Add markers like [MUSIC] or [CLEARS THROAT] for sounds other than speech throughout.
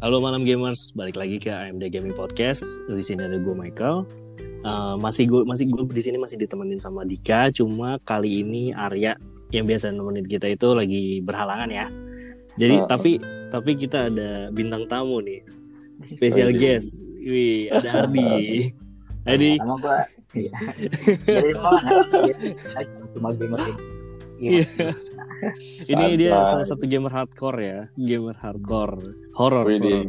Halo malam gamers, balik lagi ke AMD Gaming Podcast. Di sini ada gue Michael. Eh, masih gue masih gue di sini masih ditemenin sama Dika, cuma kali ini Arya yang biasa nemenin kita itu lagi berhalangan ya. Jadi Ah. tapi tapi kita ada bintang tamu nih, special Oh, iya. guest. Wih, ada [LAUGHS] Ardi. Ardi, Sama gua. Iya. Jadi gua nggak ngerti ya. cuma gamer ini. Iya. ini dia Santai. salah satu gamer hardcore ya, gamer hardcore, horror, horror. Widih.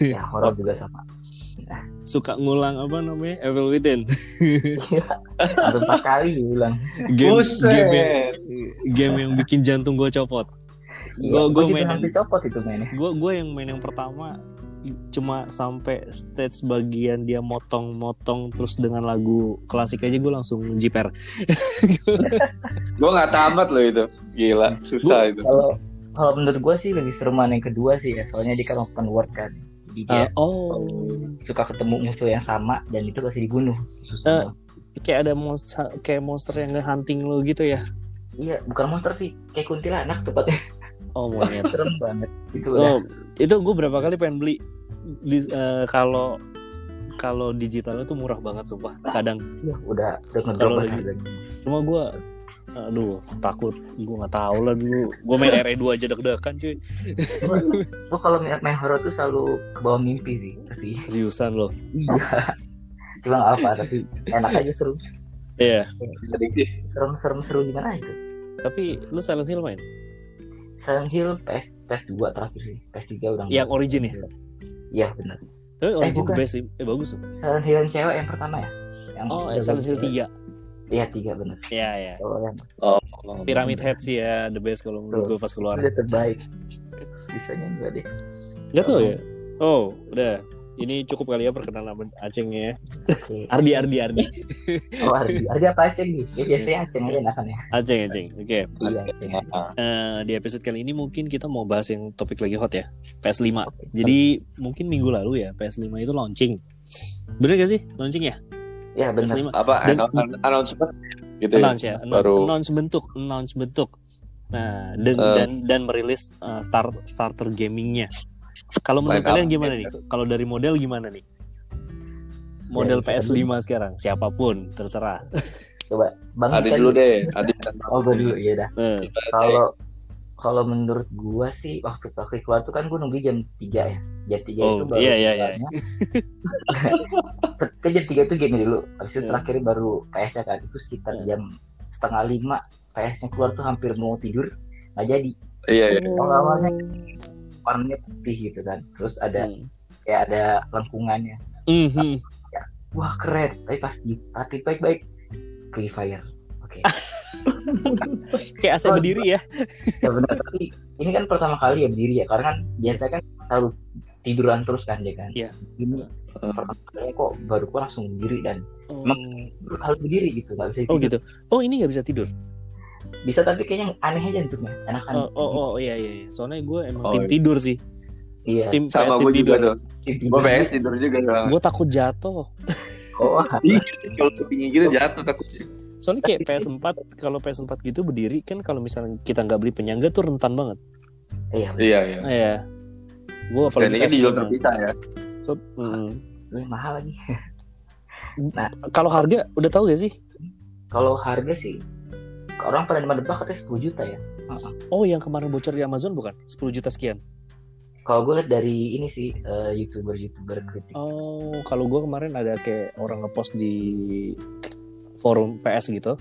Iya. Ya, horor juga sama. suka ngulang apa namanya Evil [LAUGHS] Within. Sampai empat kali diulang. game, Buset. game yang, game yang bikin jantung gue copot. Gua- gua Iya, juga main- hampir copot itu mainnya. Gue gue yang main yang pertama cuma sampai stage bagian dia motong-motong terus dengan lagu klasik aja gue langsung jiper. Gue gak tamat loh itu. Gila, susah itu. Kalau kalau menurut gua sih lebih seru mana yang kedua sih ya. Soalnya dia kan open world kan. Jadi Eh, dia oh, suka ketemu musuh yang sama dan itu pasti dibunuh. Susah. Ah. banget. kayak ada monster kayak monster yang nge-hunting lo gitu ya. Iya, bukan monster sih. Kayak kuntilanak tepatnya. Oh, [LAUGHS] monyet. [LAUGHS] Serem banget. Itu Oh, udah. itu gue berapa kali pengen beli Di- eh, kalau kalau digitalnya tuh murah banget sumpah. Kadang Ya, udah udah ngedrop Kalau banget lagi- harganya. cuma gue aduh takut gue nggak tahu lah dulu gue main RE2 aja deg-degan cuy Gua kalau main, main horor tuh selalu ke bawah mimpi sih. Pasti. seriusan loh Iya. [LAUGHS] Cuma nggak apa, tapi enak aja seru. iya Serem-serem seru gimana itu? tapi lu Silent Hill main Silent Hill PS PS2 terakhir sih. PS3 udah nggak. yang origin ya Iya benar. tapi origin the bukan. best sih eh bagus tuh. Silent Hill yang cewek yang pertama ya? Yang oh eh, Silent Hill 3 Iya, 3 benar. iya iya Kalau yang Pyramid Head sih ya the best kalau menurut gue pas keluar udah terbaik. Sisanya enggak deh. nggak tahu ya oh udah ini cukup kali ya perkenalan sama Aceng ya Oke. Ardi Ardi Ardi [LAUGHS] Oh, Ardi. Ardi apa Aceng nih? Ya, biasanya Aceng aja enakan ya. Aceng Aceng oke Iya, Aceng. Eh, di episode kali ini mungkin kita mau bahas yang topik lagi hot ya PS5 Jadi mungkin minggu lalu ya PS5 itu launching. Bener gak sih launching ya? Iya, benar. PS5 Apa, Dan- announce- announce- announcement? Gitu ya? announce ya, Baru. announce bentuk, announce bentuk. Nah dan Eh. dan dan merilis uh, star starter gamingnya. Kalau menurut Line up. Iya. kalian gimana nih? Kalau dari model gimana nih? Model Ya, Iya, PS5 sekarang siapapun terserah. Coba Bang Adi Ikan- dulu deh. Adi Oh, gua dulu. Iya dah. Eh, kalau kalau menurut gua sih waktu kaki keluar tuh kan gua nunggu jam 3 ya jam 3 Oh, itu baru iya, iya, iya. keluarnya. [LAUGHS] kan jam 3 itu game dulu habis itu Hmm. terakhir baru PS nya kan itu sekitar Hmm. jam setengah lima PS nya keluar tuh hampir mau tidur nggak jadi Iya, iya. awal-awalnya warnanya putih gitu kan terus ada Hmm. kayak ada lengkungannya Mhm. wah keren tapi pasti hati baik-baik free fire oke Kayak AC berdiri ya. ya benar tapi ini kan pertama kali ya berdiri ya karena kan biasanya kan selalu tiduran terus kan dia kan Iya. ini pertama kali kok baru kok langsung berdiri dan Oh, harus berdiri gitu nggak bisa Oh tidur. gitu. Oh ini nggak bisa tidur. bisa tapi kayaknya aneh aja bentuknya enak kan Oh oh, oh, iya iya. iya. Soalnya gue emang Oh, tim iya. tidur sih. iya Tim Sama PS gue juga tidur. tuh. Gue PS tidur juga. soalnya. Gue takut jatuh. oh Kalau tinggi gitu jatuh takut. Soalnya [LAUGHS] kayak PS4 kalau PS4 gitu berdiri kan kalau misalnya kita nggak beli penyangga tuh rentan banget. iya bener. Iya, iya. Iya. Gue Dan apalagi ini kan dijual PS5. terpisah ya. So, mm. Iya, mahal lagi Kalau harga udah tahu gak sih? kalau harga sih orang pada nebak katanya 10 juta ya Heeh. Oh yang kemarin bocor di Amazon bukan? 10 juta sekian. kalau gue lihat dari ini sih eh, youtuber youtuber kritik Oh kalau gue kemarin ada kayak orang ngepost di forum PS gitu.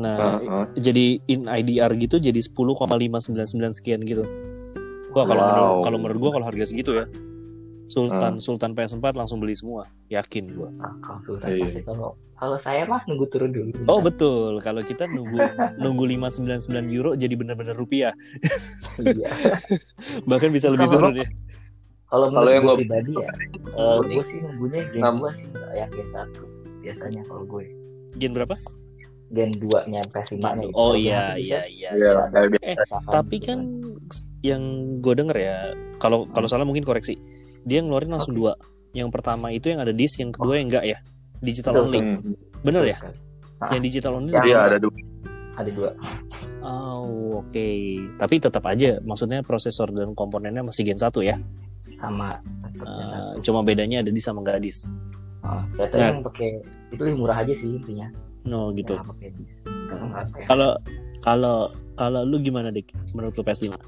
Nah Heeh. jadi in IDR gitu jadi 10,599 sekian gitu. Wah kalau Wow. Ah. menurut kalau menurut gue kalau harga segitu ya Sultan Sultan PS4 langsung beli semua yakin gue. Ah, kalau Sultan Iya. pasti kalau kalau saya mah nunggu turun dulu Oh betul, kalau kita nunggu nunggu 599 euro jadi benar-benar rupiah, iya bahkan bisa lebih Kalau- turun ya. Kalau Kalau menurut yang gue gua- pribadi ya, Eh, gue sih nunggunya gen Enam. 2 sih, nggak yang gen 1 biasanya kalau gue. Gen berapa? Gen 2-nya PS5 nya gitu. Oh Kalau iya gen satu iya bisa iya. Iya, kayak biasa. rasakan Tapi gitu kan yang gue denger ya, kalau kalau salah mungkin koreksi. Dia ngeluarin langsung dua. Yang pertama itu yang ada disk, yang kedua yang enggak ya. Digital Betul. only. Hmm. Bener ya? Terus kan, Yang digital only. Yang- lebih- Iya, ada dua. Ada dua. Oh, oke. Tapi tetap aja maksudnya prosesor dan komponennya masih Gen 1 ya. sama. Eh, cuma bedanya ada di sama gadis. Oh, ternyata Nah. yang pakai itu lebih murah aja sih intinya. No gitu. Yang pakai bis. Kalau nggak pakai- Kalau kalau kalau lu gimana dik? Menurut lu PS5?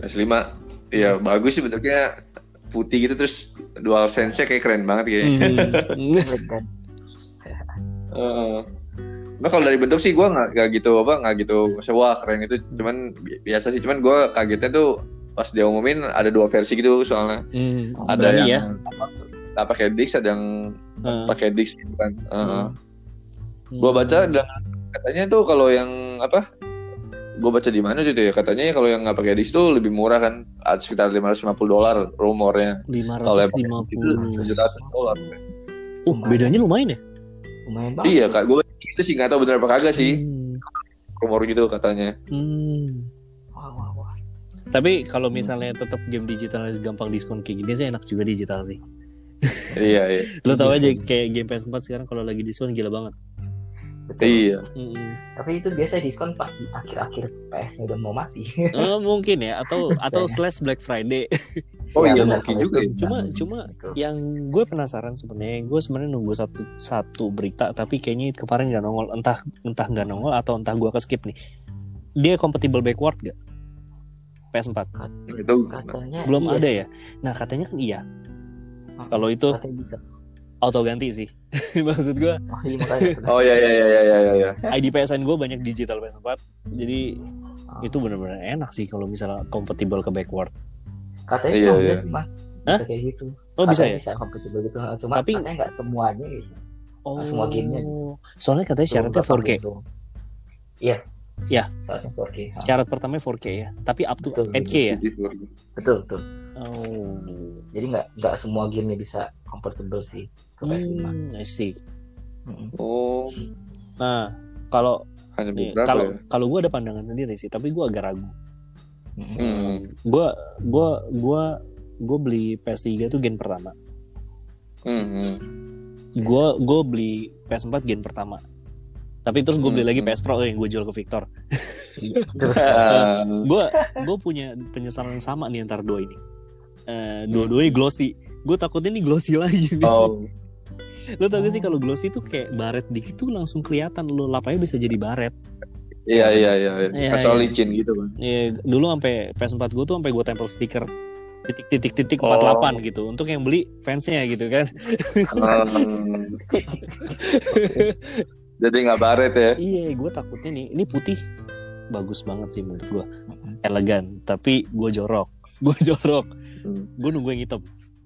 PS5 iya bagus sih bentuknya putih gitu terus dual sense nya kayak keren banget kayaknya. Hmm. kan. Heeh. Nah kalau dari bentuk sih gue nggak nggak gitu apa nggak gitu sewa keren itu cuman bi- biasa sih cuman gue kagetnya tuh pas dia umumin ada dua versi gitu soalnya Hmm, ada berani yang ya. apa, tak pakai disk ada yang Eh, pakai disk gitu kan Heeh. hmm. Gua baca dan katanya tuh kalau yang apa? Gua baca di mana gitu ya? Katanya kalau yang nggak pakai disk tuh lebih murah kan, ada sekitar 550 dolar rumornya. Kalau yang pakai disk itu 550. 700 dolar. Uh, bedanya lumayan ya? Lumayan banget. Iya kak, gua itu sih nggak tahu benar apa kagak sih Hmm. rumor gitu katanya. Hmm. Wah, wah, wah. Tapi kalau misalnya tetap game digital harus gampang diskon kayak gini sih enak juga digital sih. iya iya Lu tahu aja kayak game PS4 sekarang kalau lagi diskon gila banget. Betul. iya. [LAUGHS] Hmm. Tapi itu biasa diskon pas di akhir-akhir PS-nya udah mau mati. Iya. Eh, mungkin ya atau atau slash Black Friday. Oh Ya, iya benar, mungkin kalau juga. itu bisa. Cuma cuma Betul. yang gue penasaran sebenarnya gue sebenarnya nunggu satu satu berita tapi kayaknya kemarin nggak nongol entah entah nggak nongol atau entah gue keskip nih. Dia compatible backward gak? PS4 Itu katanya belum iya ada sih, ya. Nah katanya kan iya. Ah, Kalau itu katanya bisa. auto ganti sih. [LAUGHS] Maksud gue Oh, iya makanya. [LAUGHS] Oh iya iya iya iya iya. iya. ID PSN gue banyak digital PS4 jadi Ah. itu benar-benar enak sih kalau misalnya compatible ke backward. Katanya sih Iya, ada iya. sih, Mas. Hah? Bisa kayak gitu. Oh bisa Katanya ya? Bisa kompatibel gitu. Cuma Tapi- katanya nggak semuanya gitu. Oh. semua gamenya. Soalnya katanya syaratnya 4K. Gitu. Iya. Iya. Syaratnya 4K. Ah, Syarat pertamanya 4K ya, tapi up to Betul, 8K ya. Betul, betul. Oh. Jadi nggak nggak semua gamenya bisa compatible sih ke PS5. Hmm, I see. Mm-mm. Oh Nah, kalau hanya nih, beberapa Iya, kalau ya. kalau gue ada pandangan sendiri sih, tapi gue agak ragu. Mm-mm. [LAUGHS] Hmm. Gue gue gue gue beli PS3 tuh gen pertama. Hmm, [LAUGHS] hmm. Gue gue beli PS4 gen pertama. Tapi terus gue beli Hmm, lagi hmm. PS Pro yang gue jual ke Victor. Iya, betul. gue gue punya penyesalan yang sama nih antar dua ini Eh, dua-duanya glossy gue takutnya nih glossy [LAUGHS] lagi nih. Hmm. Oh. lo tau gak sih kalau glossy tuh kayak baret dikit tuh langsung kelihatan lo lapanya bisa jadi baret Iya iya iya. Iya, Asal iya. licin gitu kan. Iya, dulu sampai PS4 gue tuh sampai gue tempel stiker titik titik titik Oh. 48 gitu untuk yang beli fansnya gitu kan [LAUGHS] Hmm. Jadi nggak baret ya. iya gue takutnya nih ini putih bagus banget sih menurut gue elegan tapi gue jorok [LAUGHS] gue jorok Hmm. gue nunggu yang hitam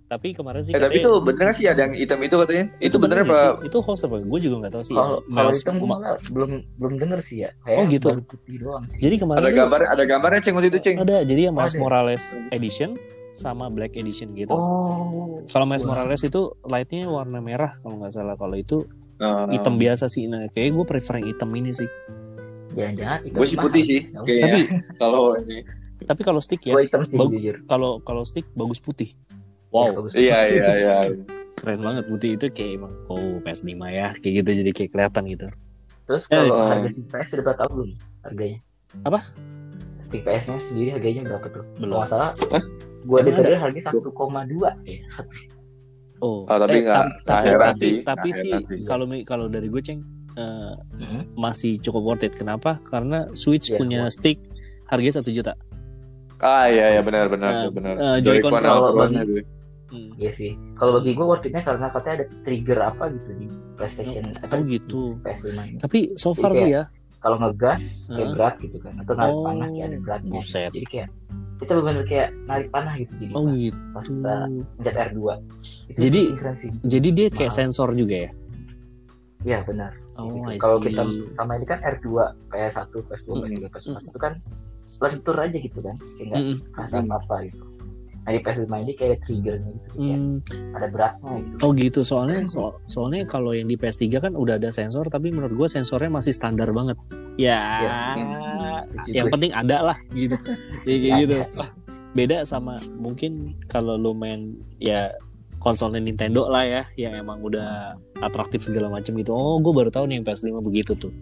tapi kemarin sih Eh, katanya- tapi itu bener nggak sih ada yang hitam itu katanya? Itu, bener bener apa? nggak sih? Itu hoax apa? Gue juga nggak tahu sih. Kalau kalau Miles- hitam gue Ma- malah belum belum denger sih ya. Oh, gitu. baru putih doang sih. Jadi kemarin Ada tuh- gambar, gitu, ada gambarnya ceng waktu itu ceng. Ada. Jadi yang Miles Ada. Morales edition sama Black edition gitu. Oh. Kalau Miles Wah. Morales itu lightnya warna merah kalau nggak salah. Kalau itu Nah, hitam biasa sih. Nah, kayaknya gue prefer yang hitam ini sih. Jangan-jangan hitam Gue sih mahal. putih sih, Ya, kayaknya. Kalau ini, Tapi kalau stick ya, Gue hitam sih Bagus. jujur. kalau kalau stick bagus putih. Ya, Wow, bagus. iya iya iya. keren banget putih itu kayak emang oh PS5 ya kayak gitu jadi kayak kelihatan gitu. Terus Eh, kalau eh. harga stick PS sudah berapa tahu belum harganya? Apa? Stick PS-nya sendiri harganya berapa tuh? Kalau Belum. nggak salah, gue Emang ada tadi harganya 1,2 ya. Oh, Ah, tapi Eh, nggak tapi- tapi- akhirat tapi- sih. tapi sih Akhirat sih. kalau mi- kalau dari gue ceng eh, Hmm. masih cukup worth it. Kenapa? Karena Switch Iya, punya stick harganya satu juta. Ah iya iya benar Eh, benar benar. eh, Joy-Con Pro. apa Bagi- namanya Eh, tuh? Iya sih. Kalau bagi gue worth it-nya karena katanya ada trigger apa gitu di PlayStation. apa Oh di gitu. PS5 ini. Tapi so far Iya. sih ya, Kalau ngegas kayak Heeh. berat gitu kan. Atau narik Oh. panah kayak ada beratnya. buset. Jadi kayak kita benar kayak narik panah gitu jadi Oh, pas, gitu. pas kita pencet R2. Itu Jadi- sih keren sih. Jadi dia kayak Mahal. sensor juga ya. Iya benar. Oh, Gitu. I Kalau see. kita sama ini kan R2, PS1, PS2, PS3, PS4 itu kan lentur aja gitu kan. Kayak nggak Mm-mm. kerasa apa gitu. Nah di PS5 ini kayak triggernya gitu. Kayak Mm. ada beratnya gitu. Oh gitu. Soalnya so- soalnya kalau yang di PS3 kan udah ada sensor, tapi menurut gue sensornya masih standar banget. Ya, Iya. Lucu Ah. yang gue. penting ada lah [LAUGHS] gitu. ya, kayak gitu. Ada. Beda sama mungkin kalau lu main ya konsolnya Nintendo lah ya, yang emang udah atraktif segala macam gitu. Oh, gue baru tahu nih yang PS5 begitu tuh.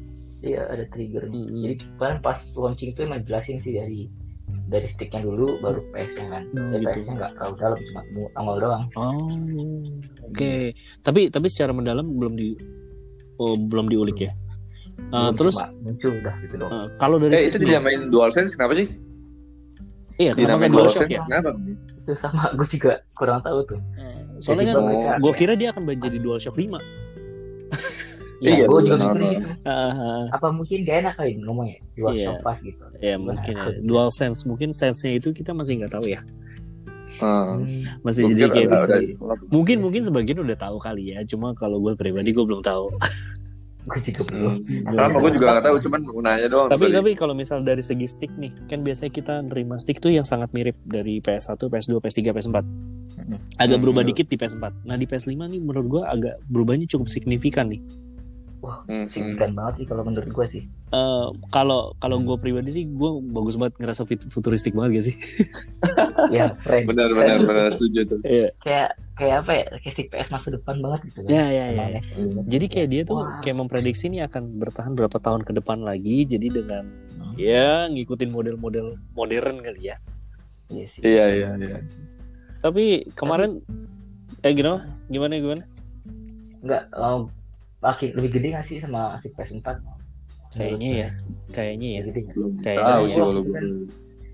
Iya ada trigger. Mm-mm. Jadi kan pas launching tuh emang jelasin sih dari dari sticknya dulu baru PS-nya kan Oh, dari gitu. PS-nya nggak terlalu dalam cuma ketemu nongol doang Oh, oke. Tapi tapi secara mendalam belum di oh, belum diulik ya. Eh, Hmm. Belum terus cuma muncul udah gitu doang eh, kalau dari Eh itu stick- dinamain DualSense kenapa sih? Iya, Ya, kenapa Dinamain nggak DualShock DualSense ya? kenapa? itu sama [LAUGHS] gue juga kurang tahu tuh Eh, Soalnya Jadi kan mereka- gue kira dia akan jadi DualShock 5. ya Iya, gue bener, juga bener. mikirnya gitu Heeh. apa mungkin gak enak kali ngomongnya di workshop pas gitu [LAUGHS] ya Iya. mungkin ya. dual sense mungkin sense-nya itu kita masih nggak tahu ya Hmm. masih Gua jadi kira kayak ada- misteri. ada- mungkin mungkin sebagian udah tahu kali ya cuma kalau gue pribadi gue belum tahu gue juga belum Hmm. Kenapa gue juga nggak tahu, cuman mau nanya doang. tapi tadi. tapi kalau misal dari segi stick nih kan biasanya kita nerima stick tuh yang sangat mirip dari PS1, PS2, PS3, PS4 agak Hmm, berubah betul. dikit di PS4 nah di PS5 nih menurut gue agak berubahnya cukup signifikan nih Hmm, hmm. signifikan banget sih kalau menurut gue [LAUGHS] sih Eh, kalau kalau gue pribadi sih gue bagus banget ngerasa fit- futuristik banget gak sih ya keren benar benar benar setuju tuh. Iya. kayak kayak apa ya kayak stick PS masa depan banget gitu kan ya ya ya Emangnya. Jadi kayak dia tuh Wah. kayak memprediksi ini akan bertahan berapa tahun ke depan lagi. Jadi dengan ya ngikutin model-model modern kali ya. Iya sih. Iya iya iya. Tapi kemarin eh gimana? Gimana gimana? Enggak, um, makin lebih gede gak sih sama si PS4? Kayaknya ya. Kayaknya ya. Lebih gede nggak? Belum Kayaknya tahu ya. sih kalau Eh, gue.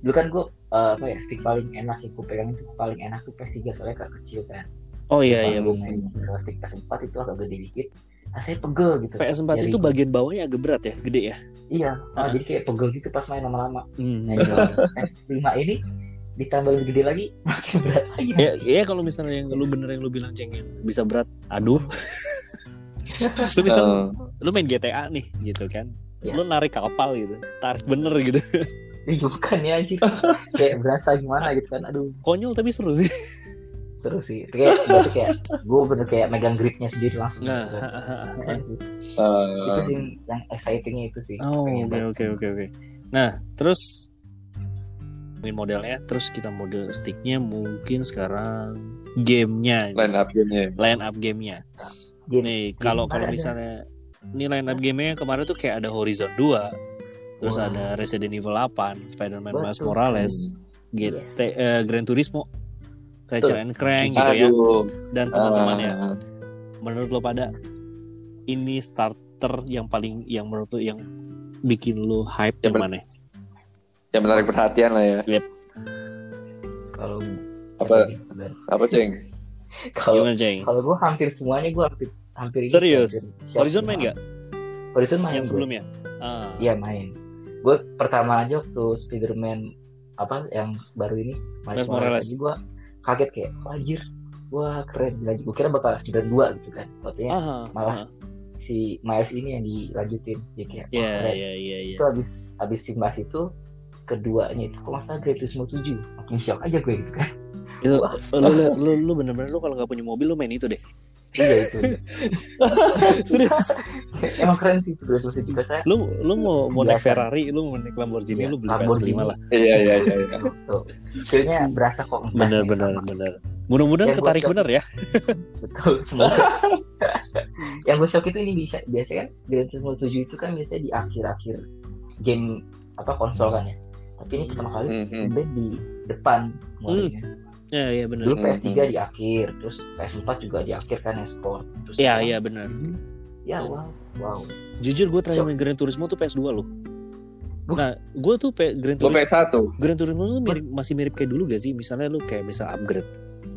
Dulu kan gue apa ya stick paling enak yang gue pegang itu paling enak tuh PS3 soalnya agak kecil kan. Oh iya Pas iya. gua main sama stick PS4 itu agak gede dikit, rasanya pegel gitu. PS4 itu Jadi- bagian bawahnya agak berat ya, gede ya. Iya, ah, Ah. jadi kayak pegel gitu pas main lama-lama. Nah, Hmm. yang PS5 ini ditambah lebih gede lagi, [LAUGHS] makin berat lagi. Ya, ya kalau misalnya yang lu bener yang lu bilang ceng yang bisa berat, [LAUGHS] aduh. Terus lu misal Nah, lu main GTA nih gitu kan. Ya. Lu narik kapal gitu. Tarik bener gitu. Ih, bukan ya [LAUGHS] anjir. kayak berasa gimana gitu kan. Aduh, Konyol tapi seru sih. terus sih. Kayak berarti kayak gue bener kayak megang gripnya sendiri langsung. Nah, gitu. Keren sih. itu eh, sih yang excitingnya itu sih Oh, Pengen oke banget. oke oke oke. Nah, terus ini modelnya, terus kita model sticknya mungkin sekarang gamenya, nih, line up game-nya. line up gamenya. Game- Nih, kalau kalau ada. misalnya ini line up gamenya kemarin tuh kayak ada Horizon 2, terus Wah. ada Resident Evil 8, Spider-Man Betul Miles sekali. Morales, GT, eh, Gran Turismo, Ratchet Betul. and Clank gitu ya, Aduh. dan teman-temannya. ah, Menurut lo pada ini starter yang paling yang menurut lo yang bikin lo hype Ya, yang ben- mana? Yang menarik perhatian lah ya. kalau gitu kan. Apa apa ceng? kalau Gimana, Ceng? kalau gue hampir semuanya gue hampir hampir ini, Serius? hampir siap Horizon semua. main nggak? Horizon main Yang gua. sebelumnya? Ah. iya main gue pertama aja waktu Spiderman apa yang baru ini Miles Morales. gue kaget kayak wajir wah keren lagi gue kira bakal Spiderman dua gitu kan waktunya Ah, Malah. ah. si Miles ini yang dilanjutin jadi kayak wah, Iya, keren. iya, iya, iya. itu abis abis simbas itu keduanya itu kok masa gratis mau tujuh makin shock aja gue gitu kan [LAUGHS] Itu Wah. lu liat- lu lu bener-bener lu kalau nggak punya mobil lu main itu [LAUGHS] deh. iya itu Serius. emang keren sih itu gratis juga saya Lu lu mau mau naik Biasa. Ferrari, lu mau naik Lamborghini, Iya, lu beli Lamborghini. PS5 lah. Iya iya iya. iya. tuh akhirnya berasa kok ngegas Bener, nih bener, sama. bener. Mudah-mudahan Yang gua ketarik shock. bener ya. betul semoga [LAUGHS] yang gue shock itu ini bisa biasanya kan gratis mau tujuh itu kan biasanya di akhir-akhir game apa konsol kan ya tapi ini pertama kali Hmm, hmm. udah di depan mulainya Iya, iya bener. dulu Hmm, PS3 hmm. di akhir terus PS4 juga di akhir kan yang sport terus Iya, sekarang- iya bener. ya wow wow Jujur gue terakhir Shock. main Gran Turismo tuh PS2 loh. Wah. Nah, gue tuh pe- Gran Gue Turismo pengen satu. Gran Turismo tuh mirip- masih mirip kayak dulu gak sih? Misalnya lu kayak bisa upgrade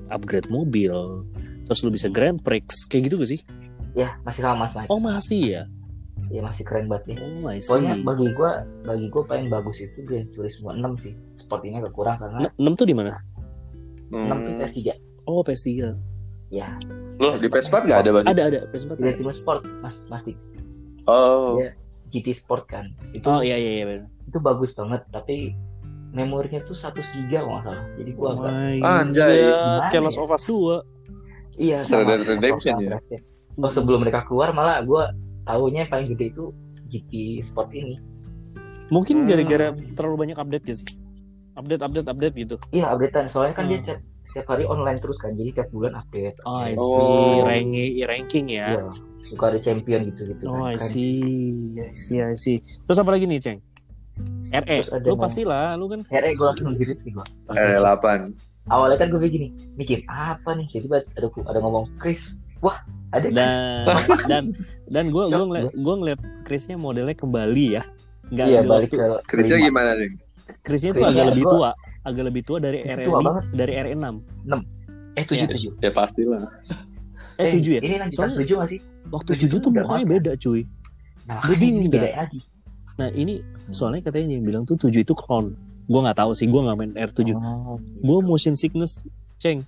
upgrade mobil, terus lu bisa Grand Prix, kayak gitu gak sih? ya masih sama masih Oh masih ya? ya masih keren banget ya Oh I see. Pokoknya bagi gua bagi gua paling bagus itu Gran Turismo 6 sih. Sepertinya agak kurang karena Ne- 6 tuh di mana? Hmm. 6 itu PS3. Oh PS3. Ya, Loh di PS4 nggak ada berarti? Ada ada PS4. Gran ada. Turismo Sport, Mas Mas Dik. Oh. Iya, GT Sport kan. Itu Oh iya iya iya. bener. itu bagus banget, tapi memorinya tuh 100 giga kalau nggak salah. Jadi gua Oh, agak my God, Anjay. Gimana Kayak Last ya? of Us 2. iya Red Dead Redemption ya? Oh, sebelum mereka keluar malah gua tahunya yang paling gede itu GT Sport ini. Mungkin Hmm. gara-gara terlalu banyak update gak sih? Update update update gitu. Iya, updatean soalnya kan Hmm. dia setiap, setiap hari online terus kan. Jadi tiap bulan update. Oh I see. Oh. Ranking ranking ya. Iya. Suka ada champion gitu-gitu. Oh I kan. Keren. see. I see I see. Terus apa lagi nih Ceng? RE, Terus ada lu yang- pasti lah, lu kan akhirnya gue langsung ngejerit sih gue RE 8 awalnya kan gue begini mikir apa nih tiba-tiba ada ada ngomong Chris wah ada Chris dan [LAUGHS] dan dan gue gue ngeliat gue ngeliat Chrisnya modelnya kembali ya, nggak iya ada balik waktu- ke Krisnya gimana nih? Chrisnya tuh agak Chrisnya lebih gua- tua, agak lebih tua dari Chris RE tua banget. dari RE 6 eh tujuh tujuh Ya pastilah. Iya. eh tujuh ya. ini lanjutan Soalnya- tujuh nggak sih Waktu tujuh tujuh tuh tuh udah mukanya apa? beda cuy. nah Gua bingung ini dah. beda lagi Nah ini soalnya katanya yang bilang tuh tujuh itu clone. Gue nggak tahu sih, gue nggak main R 7 oh, Gue motion sickness, ceng.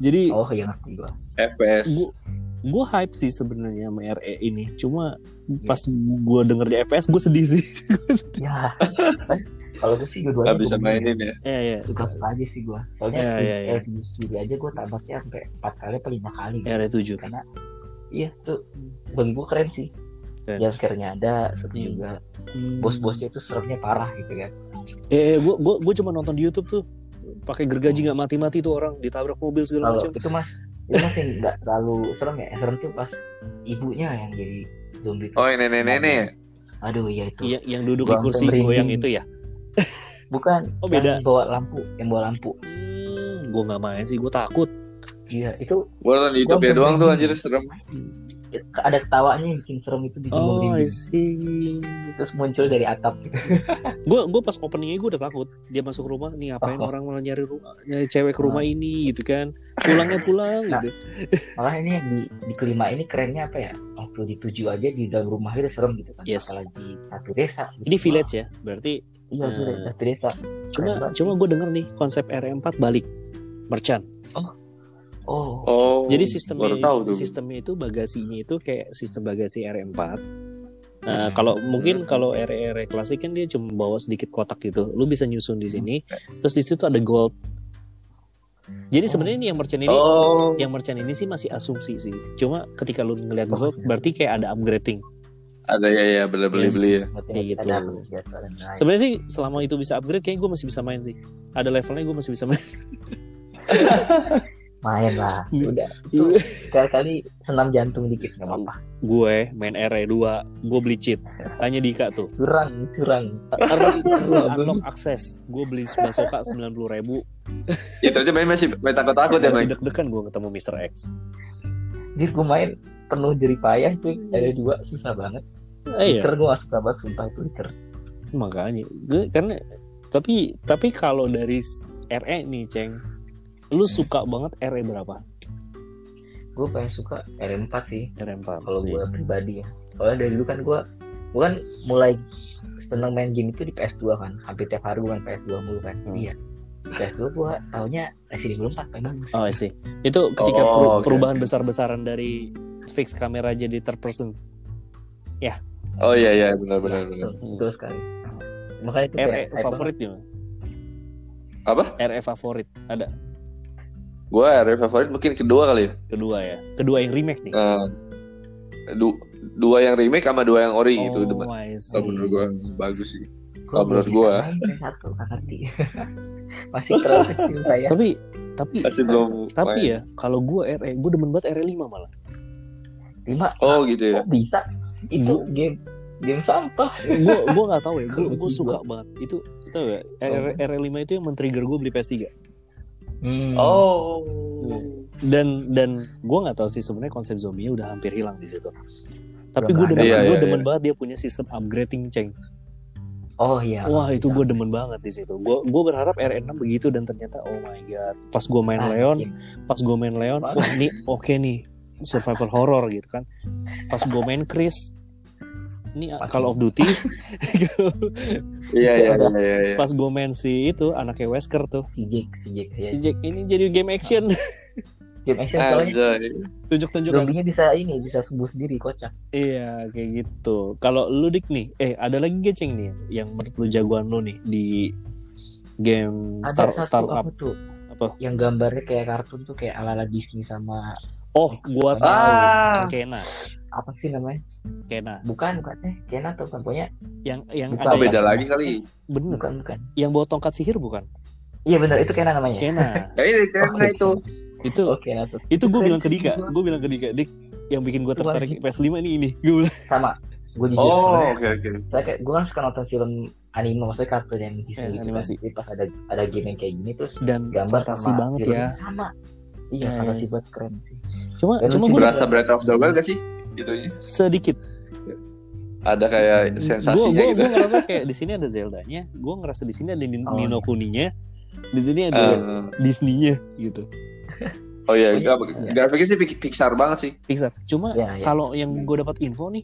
Jadi oh iya ngerti gue FPS. gue gue hype sih sebenarnya sama RE ini cuma pas gue denger di FPS gue sedih sih [LAUGHS] ya Kan, kalau gue sih dua-duanya Gak bisa gua mainin ya. iya. ya ya suka-suka aja sih gue soalnya Iya, di iya, iya. LTV sendiri aja gue tamatnya sampai empat kali atau lima kali gitu. RE 7 karena iya tuh bagi gue keren sih Keren. jalan sekarangnya ada seru Iya. juga bos-bosnya tuh seremnya parah gitu kan eh gue gue gue cuma nonton di YouTube tuh pakai gergaji nggak mati-mati tuh orang ditabrak mobil segala kalau macam itu mas itu mas yang nggak terlalu serem ya yang serem tuh pas ibunya yang jadi zombie tuh. Oh ini nenek-nenek. aduh iya itu Iya, yang duduk di Bangsa kursi merinding. Kan? goyang itu ya bukan Oh, beda. yang bawa lampu yang bawa lampu hmm, gue nggak main sih gue takut iya itu Gue nonton di YouTube Gua ya doang tuh anjir merinding. serem. ada ketawanya yang bikin serem itu bikin oh, oh I see terus muncul dari atap gitu. gue gue pas openingnya gue udah takut dia masuk rumah nih ngapain Oh. orang malah nyari rumah nyari cewek ke rumah ini gitu kan pulangnya pulang Nah, gitu malah ini yang di, di kelima ini kerennya apa ya waktu di tujuh aja di dalam rumah udah serem gitu kan Yes. apalagi satu desa gitu. ini village ya berarti iya satu Hmm. satu desa Keren Cuma banget. cuma gue denger nih konsep RM4 balik merchant. oh Oh. Jadi Hmm, baru sistemnya tahu tuh. sistemnya itu bagasinya itu kayak sistem bagasi RM4. Nah, kalau mungkin Hmm. kalau RR klasik kan dia cuma bawa sedikit kotak gitu. Lu bisa nyusun Hmm. di sini. Terus di situ ada gold. Jadi Oh. sebenarnya ini yang merchant ini Oh. yang merchant ini sih masih asumsi sih. Cuma ketika lu ngeliat Oh, gold iya. berarti kayak ada upgrading. Ada ya ya beli beli Yes. beli ya. Kayak gitu. Ada apa, biasa dan lain. Sebenarnya sih selama itu bisa upgrade kayak gue masih bisa main sih. Ada levelnya gue masih bisa main. main lah Hmm. udah kali kali senam jantung dikit nggak apa-apa gue main RR2, gue beli cheat. Tanya Dika tuh. curang curang Urban Urban Unlock Access Gue beli basoka 90 ribu Itu aja main masih main takut takut ya Masih main. deg-degan gue ketemu Mr. X jadi gue main penuh jeripayah itu ada dua susah banget Eh ya liter gue gak suka banget sumpah itu liter makanya Gue karena Tapi Tapi kalau dari s- RE nih Ceng Lu suka banget RE berapa? gue paling suka R4 sih RE 4 kalau E sih. gue pribadi ya soalnya dari dulu kan gue gue kan mulai seneng main game itu di PS2 kan hampir tiap hari gue main PS2 mulu kan jadi Hmm. ya di PS2 gue taunya Resident Evil 4 paling bagus Oh I see Itu ketika peru- Oh, oke, perubahan oke. besar-besaran dari Fix kamera jadi third person Oh iya iya benar benar benar. betul, betul sekali makanya itu ya, E RE kayak- Eh, E favorit gimana? Apa? RE favorit Ada Gue area favorit mungkin kedua kali ya. Kedua ya Kedua yang remake nih Eh, du- dua yang remake sama dua yang ori itu Oh demen. I see Kalau menurut gue bagus sih. Gua Kalau menurut belum gua. ya. bisa main yang satu nggak ngerti [LAUGHS] masih terlalu kecil saya Tapi Tapi Masih belum. Tapi main. ya, kalau gue RE, gue demen banget RE 5 malah. lima Oh gitu ya. kok bisa itu game game sampah Gue gue nggak tahu ya, gue Kalau gue gua- suka banget. Itu ya, tau gak? RE, RE 5 E itu yang men-trigger gue beli PS3. Hmm. Oh. Dan dan gue nggak tahu sih sebenarnya konsep zombie udah hampir hilang di situ. Tapi Udah gue demen, nggak ada. Iya, gua iya, demen iya. banget dia punya sistem upgrading ceng. oh Ah, iya Wah itu gue demen banget di situ. Gue gue berharap RE 6 begitu dan ternyata oh my god. Pas gue main Ah, Leon, game. pas gue main Leon, Parah. wah ini oke nih survival horror gitu kan. Pas gue main Chris, ini Pas- ya. Call of Duty. Iya iya iya iya. iya. pas gue main si itu anaknya Wesker tuh si Jack si Jack ya si Jack ini jadi game [LAUGHS] action game action Ah, soalnya Anjay. tunjuk-tunjuk zombinya bisa ini bisa sembuh sendiri kocak iya kayak gitu kalau lu dik nih eh ada lagi geceng nih yang menurut lu jagoan lu nih di game ada star satu startup apa tuh Apa? yang gambarnya kayak kartun tuh kayak ala ala Disney sama oh gua tahu Ah. Kena apa sih namanya Kena bukan bukan eh Kena tuh bukan pokoknya yang yang Bukan. ada Oh, beda yang- lagi kali. bener bukan bukan yang bawa tongkat sihir bukan iya benar itu Kena namanya [LAUGHS] Kena Ya ini karena itu. iya. itu oke Kena tuh itu gue Itu bilang ke kan Dika gua- gue bilang ke Dika Dik yang bikin gue Itu tertarik wajib. PS5 ini ini gue bilang sama gue jujur Oh, sebenarnya oke oke. saya kayak gue kan suka nonton film anime maksudnya kartun yang Disney Iya, gitu kan. animasi. Jadi pas ada ada game yang kayak gini terus dan gambar fantasi sama banget film ya sama iya Iya, fantasi iya. banget keren sih cuma Dan cuma lucu gue banget. Berasa Breath of the Wild gak sih? Itunya. sedikit Ada kayak gue sensasinya gue gitu. gue ngerasa kayak di sini ada Zeldanya gue ngerasa di sini ada Nin- Oh. Nino Kuninya di sini Eh, ada Disney-nya gitu oh iya, Iya. grafiknya sih Pix- Pixar banget sih. Pixar cuma ya, ya. kalau yang gue dapat info nih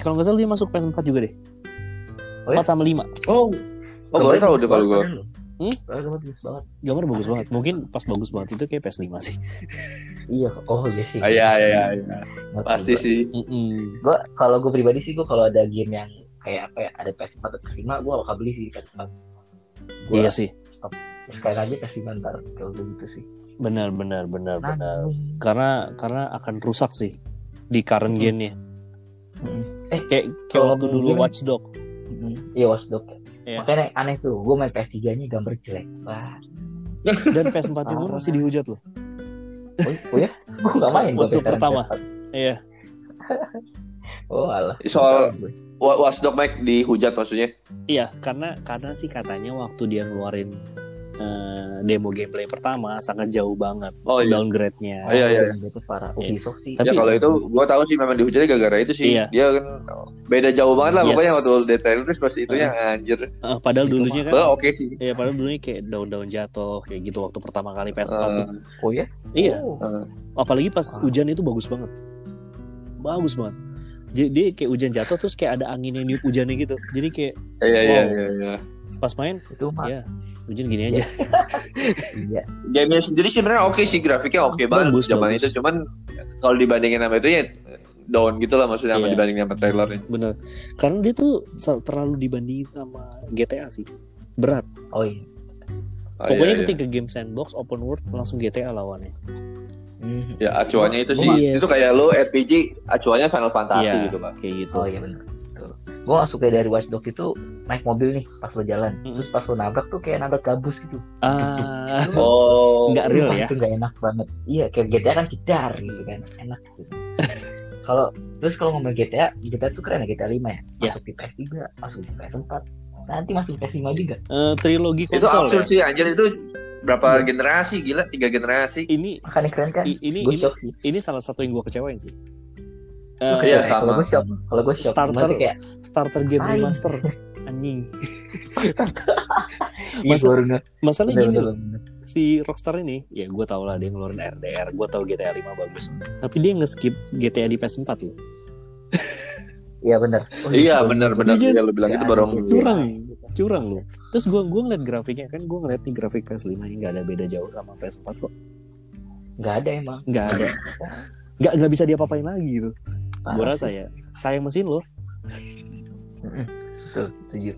kalau nggak salah dia masuk PS4 juga deh Oh ya? 4 sama 5 Oh, oh baru tahu tuh kalau gue. Hmm? bagus banget gambar bagus Apa sih? banget mungkin pas bagus banget itu kayak PS5 sih iya oh iya sih Ah, Iya iya iya, Ngerti pasti gua. sih. Mm-mm. Gua kalau gue pribadi sih gue kalau ada game yang kayak apa ya ada PS4 atau PS5 gue bakal beli sih PS4 gue iya sih sekalian aja PS5 ntar kalau gua gitu sih benar benar benar Nah, benar karena karena akan rusak sih di current Hmm. Mm. gen-nya Mm. kayak kayak Kalau waktu dulu mungkin- Watch Dog Mm. iya Watchdog Iya. makanya aneh tuh gue main PS3 nya gambar jelek [LAUGHS] wah [LAUGHS] dan PS4 gue masih dihujat loh oh, oh ya gue gak main gua Watchdog PS3. pertama. iya [LAUGHS] oh alah Soal- Wa- Watchdog Mike dihujat maksudnya. iya karena karena sih katanya waktu dia ngeluarin eh, demo gameplay pertama sangat jauh banget Oh iya. downgrade-nya Oh, iya iya. itu parah Iya. Ubisoft sih Tapi- ya kalau itu gua tahu sih memang dihujatnya gara-gara itu sih. Iya. Dia kan beda jauh banget lah Yes. pokoknya waktu detail terus pasti itunya anjir. Eh, padahal Itu dulunya kan Padahal oke sih. ya padahal dulunya kayak daun-daun jatuh kayak gitu waktu pertama kali PS4 tuh. Eh, oh ya iya Oh. apalagi pas Ah. hujan itu bagus banget bagus banget jadi dia kayak hujan jatuh terus kayak ada angin yang niup hujannya gitu jadi kayak Iya iya Wow. iya iya. pas main itu mah Iya. hujan gini aja iya Game sendiri sebenarnya oke sih grafiknya oke banget Bagus, zaman bagus. itu cuman kalau dibandingin sama itu ya down gitu lah maksudnya sama Iya. dibandingin sama trailernya. bener karena dia tuh sa- terlalu dibandingin sama GTA sih berat oh iya Ah, pokoknya iya, ketika game sandbox open world langsung GTA lawannya Mhm. iya. ya acuannya itu Gua- sih. Yes. Itu kayak lo RPG acuannya Final Fantasy Iya. gitu, Pak. kayak gitu Oh iya benar. Gue gak suka dari Watchdog itu naik mobil nih pas lo jalan, Hmm. terus pas lo nabrak tuh kayak nabrak gabus gitu. ah Oh. Nggak real ya? Sumpah, Iya, Itu gak enak banget. Iya kayak GTA kan jedar gitu kan, enak. [LAUGHS] Gitu. kalau terus kalau ngomong GTA, GTA tuh keren ya GTA 5 ya. Iya. Masuk di PS3, masuk di PS4, nanti masuk di PS5 juga. eh, trilogi Itu konsol ya? Iya. absurd sih anjir itu berapa generasi gila tiga generasi. ini Makanya keren kan? i- ini ini, Gue Eh, shock sih. ini salah satu yang gue kecewain sih Lu Eh, kecewa Iya, ya? Kalau sama. gue shock, kalau gue shock. Starter. Maksudnya kayak starter game Fine. remaster [LAUGHS] anjing ih, Iya, Masa- iya, baru nge- masalahnya bener, gini bener, loh bener. si Rockstar ini ya gue tau lah dia ngeluarin RDR gue tau GTA 5 bagus tapi dia nge-skip GTA di PS4 loh Iya benar. Iya benar-benar Iya. ya lo bilang itu bareng. curang curang loh terus gue gua ngeliat grafiknya kan gue ngeliat nih grafik PS5 ini nggak ada beda jauh sama PS4 kok Gak ada emang. nggak ada [LAUGHS] nggak nggak bisa diapa-apain lagi gitu gue Parah. rasa ya sayang mesin loh Mm-mm. Betul, setuju.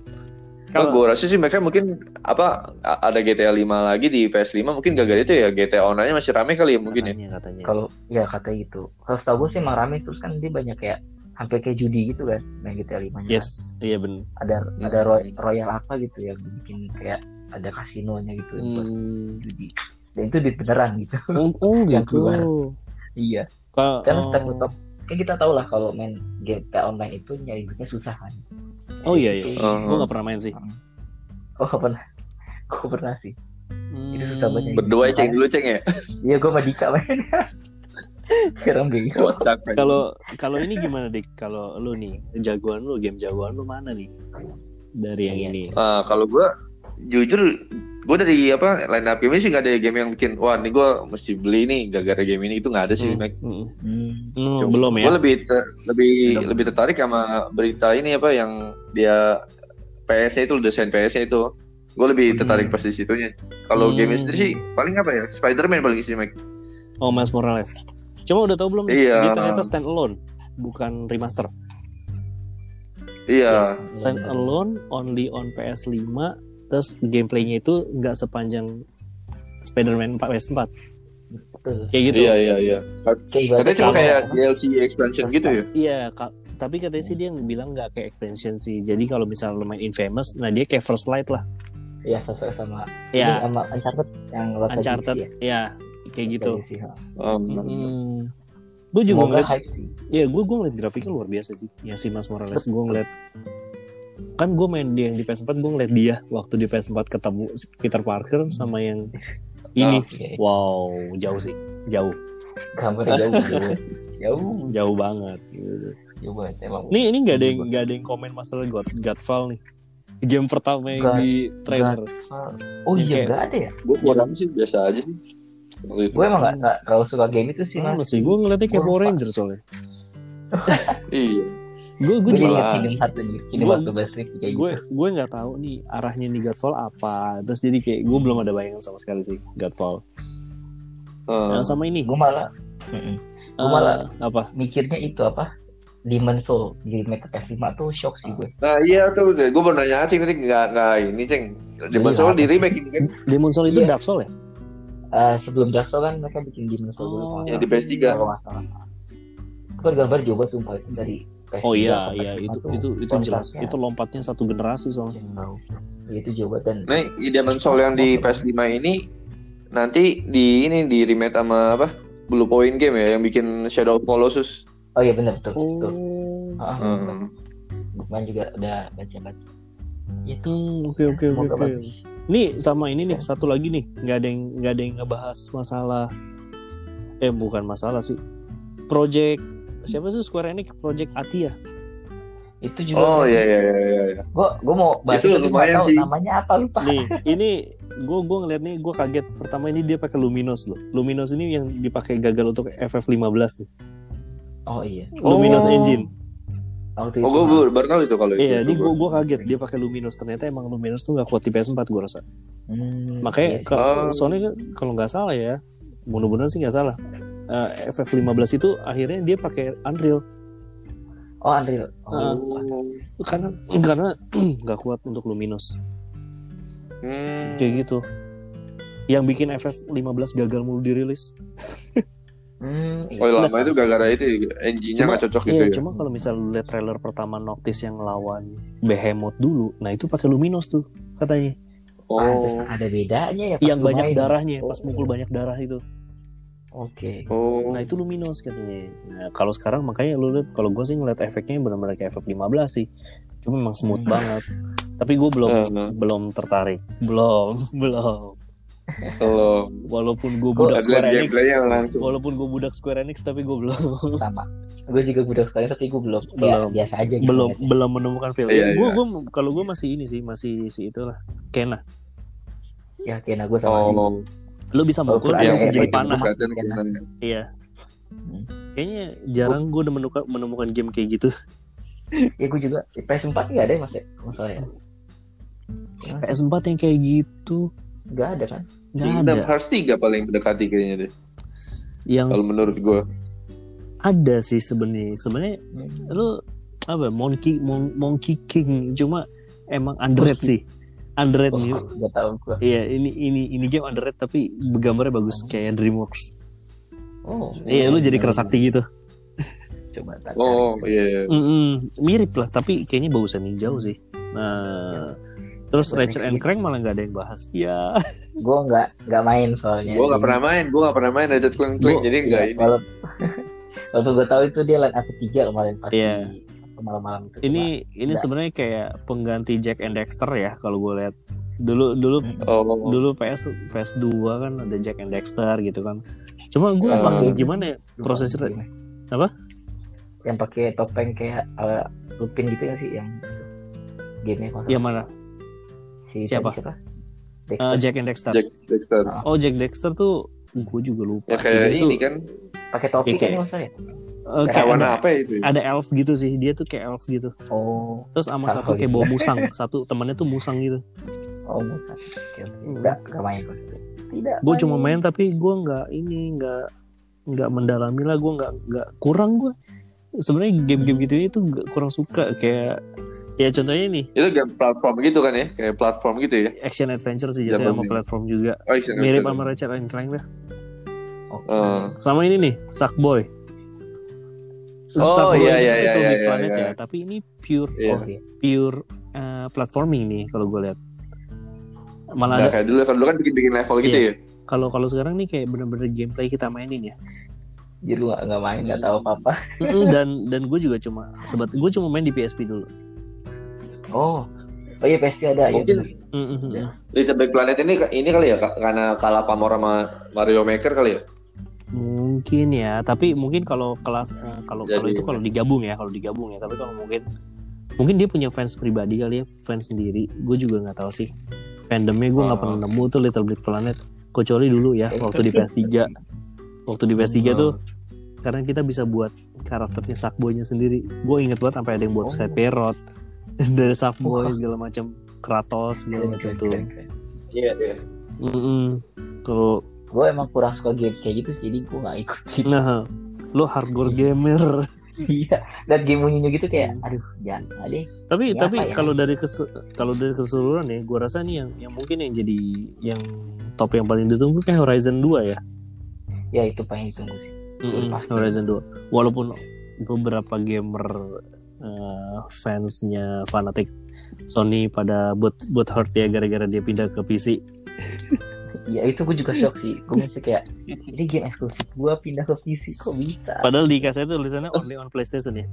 Kalau gue rasa sih mereka mungkin apa a- ada GTA 5 lagi di PS5 mungkin gagal itu ya GTA online masih rame kali ya mungkin ya. katanya katanya kalau ya kata itu kalau setahu gue sih emang rame terus kan dia banyak kayak hampir kayak judi gitu kan main GTA 5 nya yes iya bener ada ada ro- royal apa gitu yang bikin kayak ada kasinonya gitu buat hmm. judi dan itu duit beneran gitu [LAUGHS] oh, oh Yang gitu keluar. iya Kalau- karena oh. setiap top kan kita tau lah kalau main GTA online itu nyari duitnya susah kan Oh, iya, iya. Kayak- gitu. Oh. gue nggak pernah main sih oh gak pernah [LAUGHS] gue pernah sih Hmm. Itu susah banget. Berdua ya ceng dulu ceng [LAUGHS] ya. iya gue sama Dika main [LAUGHS] sekarang gak gitu Kocak, men. Kalau kalau ini gimana dik? Kalau lu nih jagoan lu game jagoan lu mana nih? Dari yang Iya. ini. Ah, kalau gue jujur gue dari apa line up game ini sih nggak ada game yang bikin wah ini gue mesti beli nih gara-gara game ini itu nggak ada sih. Hmm, Mac. hmm. hmm. Hmm, Cuma- belum ya? Gue lebih ter- lebih Belum. lebih tertarik sama berita ini apa yang dia PS itu desain PS itu. Gue lebih tertarik Hmm. pas di situnya. Kalau game Hmm. sendiri sih paling apa ya? Spider-Man paling sih Mike. Oh Mas Morales. Cuma udah tahu belum? nih? Iya. Dia ternyata stand alone, bukan remaster. Iya. Stand alone only on PS5. Terus gameplaynya itu nggak sepanjang Spider-Man 4 PS4 Betul. kayak gitu. ya? Iya iya iya. Kayak Katanya ibaratnya cuma kalau- kayak DLC expansion gitu ya. Iya, Kak. tapi katanya sih dia bilang nggak kayak expansion sih. Jadi kalau misalnya lu main Infamous, nah dia kayak first light lah. Iya, sesuai sama Ya, Ini sama Uncharted yang Lost Legacy Uncharted. ya? Ya, Iya, kayak Lost Oh, gitu. Legacy, ha. Um, Mm-mm. Gue juga Semoga ngeliat, hype sih. ya gue gue ngeliat grafiknya luar biasa sih. Ya si Mas Morales gue ngeliat kan gue main dia yang di PS4 gue ngeliat dia waktu di PS4 ketemu si Peter Parker sama yang ini. Oke. Wow, jauh sih. Jauh, [LAUGHS] Gambarnya jauh, jauh, jauh, jauh banget. gitu. jauh banget emang. Nih ini nggak ada yang nggak ada yang komen masalah God Godfall nih. Game pertama yang God- di trailer. Oh Yang iya kayak- nggak ada ya? Gue kurang sih biasa aja sih. Waktu itu. Gue emang nggak nggak terlalu suka game itu sih Mana mas. sih? Gue ngeliatnya kayak Gua Power lupa. Ranger soalnya. Iya. Gue gue Gue juga jadi inget malah- Kingdom Hearts anjir. Kingdom Gua- Hearts Best Sleep kayak gitu. gue gue nggak tahu nih arahnya nih Godfall apa. Terus jadi kayak gue belum ada bayangan sama sekali sih Godfall. Heeh. Nah, sama ini. Gue gitu. malah Mm-mm. gua Hmm. malah- eh, apa? mikirnya itu apa? Demon Soul di remake PS5 tuh shock sih gue. Nah iya tuh, gue baru nanya Ceng tadi nggak nah ini Ceng. Demon Iya. Soul di remake ini kan Demon Soul itu Iya. Dark Soul ya? Eh, sebelum Dark Souls kan mereka bikin Demon Soul dulu. Oh. kalau nggak ya salah. di PS3. Kalau nggak salah. Gue gambar juga sumpah itu dari PS3 Oh iya atau iya PS4 itu tuh itu itu jelas. lompatnya Itu lompatnya satu generasi soalnya. jauh. Iya, Itu jauh dan Nah, i- Demon Soul yang di PS5 ini nanti di ini di remake sama apa? Blue Point Game ya yang bikin Shadow of Colossus. Oh iya benar betul. betul. Oh. Ah, Hmm. Lukman juga udah baca-baca. Itu Hmm, Oke oke oke. semoga oke. bagus. Nih sama ini nih satu lagi nih nggak ada yang nggak ada yang ngebahas masalah eh bukan masalah sih project siapa sih Square Enix project [LAUGHS] Atia Itu juga. Oh iya iya iya iya. iya. Gue gue mau bahas Itu tapi nggak lumayan tahu sih. Namanya apa lupa. nih ini gue gue ngeliat nih gue kaget pertama ini dia pakai Luminos loh Luminos ini yang dipakai gagal untuk FF15 nih Oh iya. Luminos Oh. engine Waktu Oh itu- gue baru, baru tahu itu kalau itu. iya ini itu gua. gue gue kaget dia pakai Luminos ternyata emang Luminos tuh nggak kuat di PS4 gue rasa Hmm, makanya iya sih. ke- Oh. soalnya kalau nggak salah ya mudah-mudahan sih nggak salah eh, FF15 itu akhirnya dia pakai Unreal Oh Unreal. Oh, Ah. pantes. karena karena [CLEARS THROAT] nggak kuat untuk Luminos Hmm. kayak gitu yang bikin FF 15 gagal mulu dirilis Hmm, iya. Oh lama itu gara-gara itu engine-nya nggak cocok gitu Iya, ya. cuma kalau misalnya lu lihat trailer pertama Noctis yang lawan Behemoth dulu nah itu pakai Luminos tuh katanya Ah, Pantes Oh. Ah, ada bedanya ya pas yang lu banyak main. darahnya Oh. pas mukul banyak darah itu Oke. Oh. nah itu Luminos katanya nah kalau sekarang makanya lu lihat kalau gue sih ngeliat efeknya benar-benar kayak FF 15 sih cuma emang smooth Hmm. banget tapi gue belum Eh, belum tertarik belum [LAUGHS] belum Kalau walaupun Oh, gue Gua budak Ada Square Enix gameplay yang langsung. Walaupun gue budak Square Enix tapi gue [LAUGHS] belum Sama. Gue juga budak sekali tapi gue belum. Belum. Ya, biasa aja. gitu belum ngeliatnya. belum menemukan film. Iya, gue iya. kalau gue masih ini sih masih si itulah. Kena. Ya oke, nah gue sama sih. Oh. iya, Lu bisa mukul lu Walaupun Yang bisa efek jadi itu panah. bukan- kelihatan- kelihatan. Iya. Kayaknya jarang gue menemukan menemukan game kayak gitu. Ya gue juga. PS4 nggak ada ya mas ya? Masalahnya. PS4 yang kayak gitu Nggak ada kan? nggak ada. Kingdom Hearts 3 paling mendekati kayaknya deh. Yang Kalau menurut gue. ada sih sebenarnya. Sebenarnya Hmm. lu apa Monkey Mon- Monkey King cuma emang underrated sih. Underrated nih. Oh, nggak tahu gue. Iya, ini ini ini game underrated tapi gambarnya bagus kayak DreamWorks. Oh. Iya, lu jadi kerasakti gitu. Coba tak. Oh kan. iya. Mm-mm, mirip lah tapi kayaknya bausan hijau sih nah terus Ratchet and Crank malah nggak ada yang bahas Iya. ya Gue nggak nggak main soalnya. Gue nggak pernah main, gue nggak pernah main Ratchet Clank Clank, Iya, Gua- jadi nggak Iya, ini. Walaupun, [LAUGHS] walaupun gue tahu itu dia line up ketiga kemarin pas Iya. di malam-malam itu. [LAUGHS] ini ini Nggak. sebenarnya kayak pengganti Jack and Dexter ya kalau gue lihat dulu dulu Oh, dulu PS PS 2 kan ada Jack and Dexter gitu kan cuma gue Eh. emang gimana ya Lupa proses namanya gimana. apa? Yang pakai topeng kayak ala Lupin gitu nggak sih yang itu. Game-nya kalau yang mana si Iya, siapa? siapa? Eh, Dexter Jack and Dexter Jack Dexter. oh Jack Dexter tuh gue juga lupa Ya kayak sih, dia ini tuh, kan, pakai topi Iya, kan kayak- nggak usah ya? eh, kayak hewan ada, apa ya itu? ya? ada elf gitu sih dia tuh kayak elf gitu Oh, terus sama Sama satu kayak gitu. bawa musang satu temannya tuh musang gitu oh Musa. Oke, oke. Nggak, nggak main gue. Tidak. gue Hmm. cuma main tapi gue nggak ini nggak nggak mendalami lah gue nggak nggak kurang gue sebenarnya game-game gitu itu nggak kurang suka kayak ya contohnya ini Itu game platform gitu kan ya, kayak platform gitu ya. action adventure sih jatuhnya Jatuh sama sih. platform juga Oh, iya, mirip iya. sama Ratchet and Clank lah Oke. Eh, sama ini nih Sackboy Oh, Sackboy iya, ini iya, kan iya, Little Big iya, Planet iya. ya, tapi ini pure Iya. Oke. pure eh, platforming nih kalau gue lihat malah Nah, ada kayak dulu, kalau dulu kan bikin-bikin level gitu Iya. ya. kalau kalau sekarang nih kayak bener-bener gameplay kita mainin ya jadi gue nggak main nggak tahu apa apa Mm-mm, dan dan gue juga cuma sebat gue cuma main di PSP dulu oh oh iya PSP ada ya Mungkin- bener. Mm-mm. Little Big Planet ini ini kali ya Kak? karena kalah pamor sama Mario Maker kali ya. mungkin ya tapi mungkin kalau kelas eh, kalau Jadi- kalau itu kalau digabung ya kalau digabung ya tapi kalau mungkin mungkin dia punya fans pribadi kali ya fans sendiri gue juga nggak tahu sih fandomnya gue nggak Oh. pernah nemu tuh Little Big Planet kecuali dulu ya waktu di PS3 [LAUGHS] waktu di PS3 tuh karena kita bisa buat karakternya Sackboy-nya sendiri gue inget banget sampai ada yang buat Oh. Sephiroth [LAUGHS] dari Sackboy segala macam Kratos segala macam tuh Iya, iya. Mm-mm. kalau gue emang kurang suka game kayak gitu sih jadi gue nggak ikutin nah lo hardcore gamer [LAUGHS] iya dan game bunyinya gitu kayak aduh jangan nggak deh tapi Ya, tapi apa ya? kalau dari kesu- kalau dari keseluruhan ya gue rasa nih yang yang mungkin yang jadi yang top yang paling ditunggu kayak Horizon 2 ya ya itu pengen ditunggu sih Mm-mm, pasti. Horizon 2 walaupun beberapa gamer eh, fansnya fanatik Sony pada buat buat hurt ya gara-gara dia pindah ke PC ya itu gue juga shock sih gue masih kayak ini game eksklusif gue pindah ke PC kok bisa padahal di kasetnya tulisannya only on PlayStation ya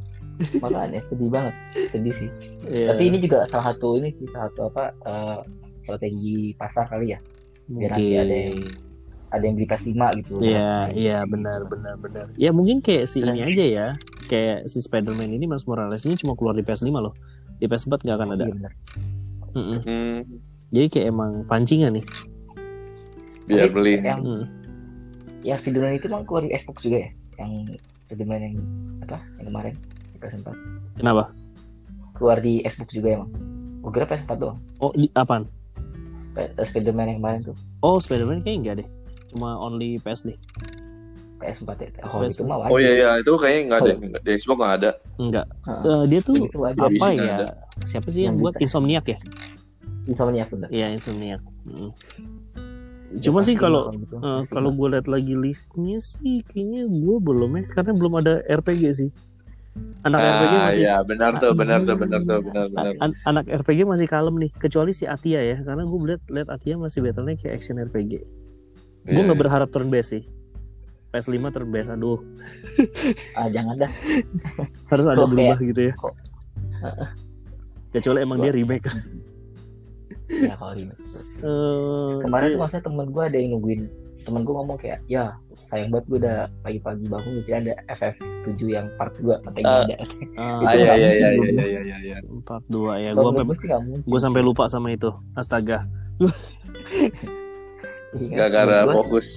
makanya sedih banget sedih sih Iya, tapi ini juga salah satu ini sih salah satu apa eh, strategi pasar kali ya biar nanti mungkin. ada yang ada yang beli PS5 gitu Iya, Nah, iya gitu. benar benar benar. Ya mungkin kayak si ini aja ya. Kayak si Spider-Man ini Mas Morales ini cuma keluar di PS5 loh. Di PS4 nggak akan ada. Iya, benar. Mm-mm. Hmm, Jadi kayak emang pancingan nih. biar Tapi beli. yang Mm. yang Ya, Spiderman itu emang keluar di Xbox juga ya yang Spiderman yang apa yang kemarin PS4 Kenapa? keluar di Xbox juga emang gue kira PS4 doang Oh, di, apaan? P- eh, Spiderman yang kemarin tuh Oh, Spider-Man kayaknya enggak deh. Cuma only PS deh. PS4 ya oh PS4. itu mah wajib Oh gitu? iya iya, itu kayaknya enggak Oh. ada. Di Xbox enggak ada. Enggak. Heeh. Eh, dia tuh itu wajib apa Iya, ya? ada. Siapa sih yang Yang buat kita- Insomniac ya? Insomnia bener Iya, Insomniac. Mm. Cuma Ya, sih pasti kalau lah gitu. eh, kalau gue lihat lagi listnya sih kayaknya gue belum ya karena belum ada RPG sih. Anak RPG Ah, masih iya, benar tuh, benar tuh, benar tuh, benar benar. An- an- anak RPG masih kalem nih, kecuali si Atia ya, karena gue lihat lihat Atia masih battle-nya kayak action RPG. Iya, Gue nggak berharap turn based sih. PS5 turn based, aduh ah jangan dah harus ada Kok berubah gitu ya. [LAUGHS] kok- Kecuali emang dia remake. ya kalau remake Eh, kemarin tuh iya. maksudnya temen gue ada yang nungguin temen gue ngomong kayak ya sayang banget gue udah pagi-pagi bangun gitu ada FF7 yang part 2 katanya Ah. ada Ah, Ah, itu iya nggak iya iya mungkin. iya iya iya iya. empat dua ya. Kalau Gue menurut sampai gue sih nggak mungkin gue sampai lupa sama itu. Astaga. Iya, menurut Gara-gara gua fokus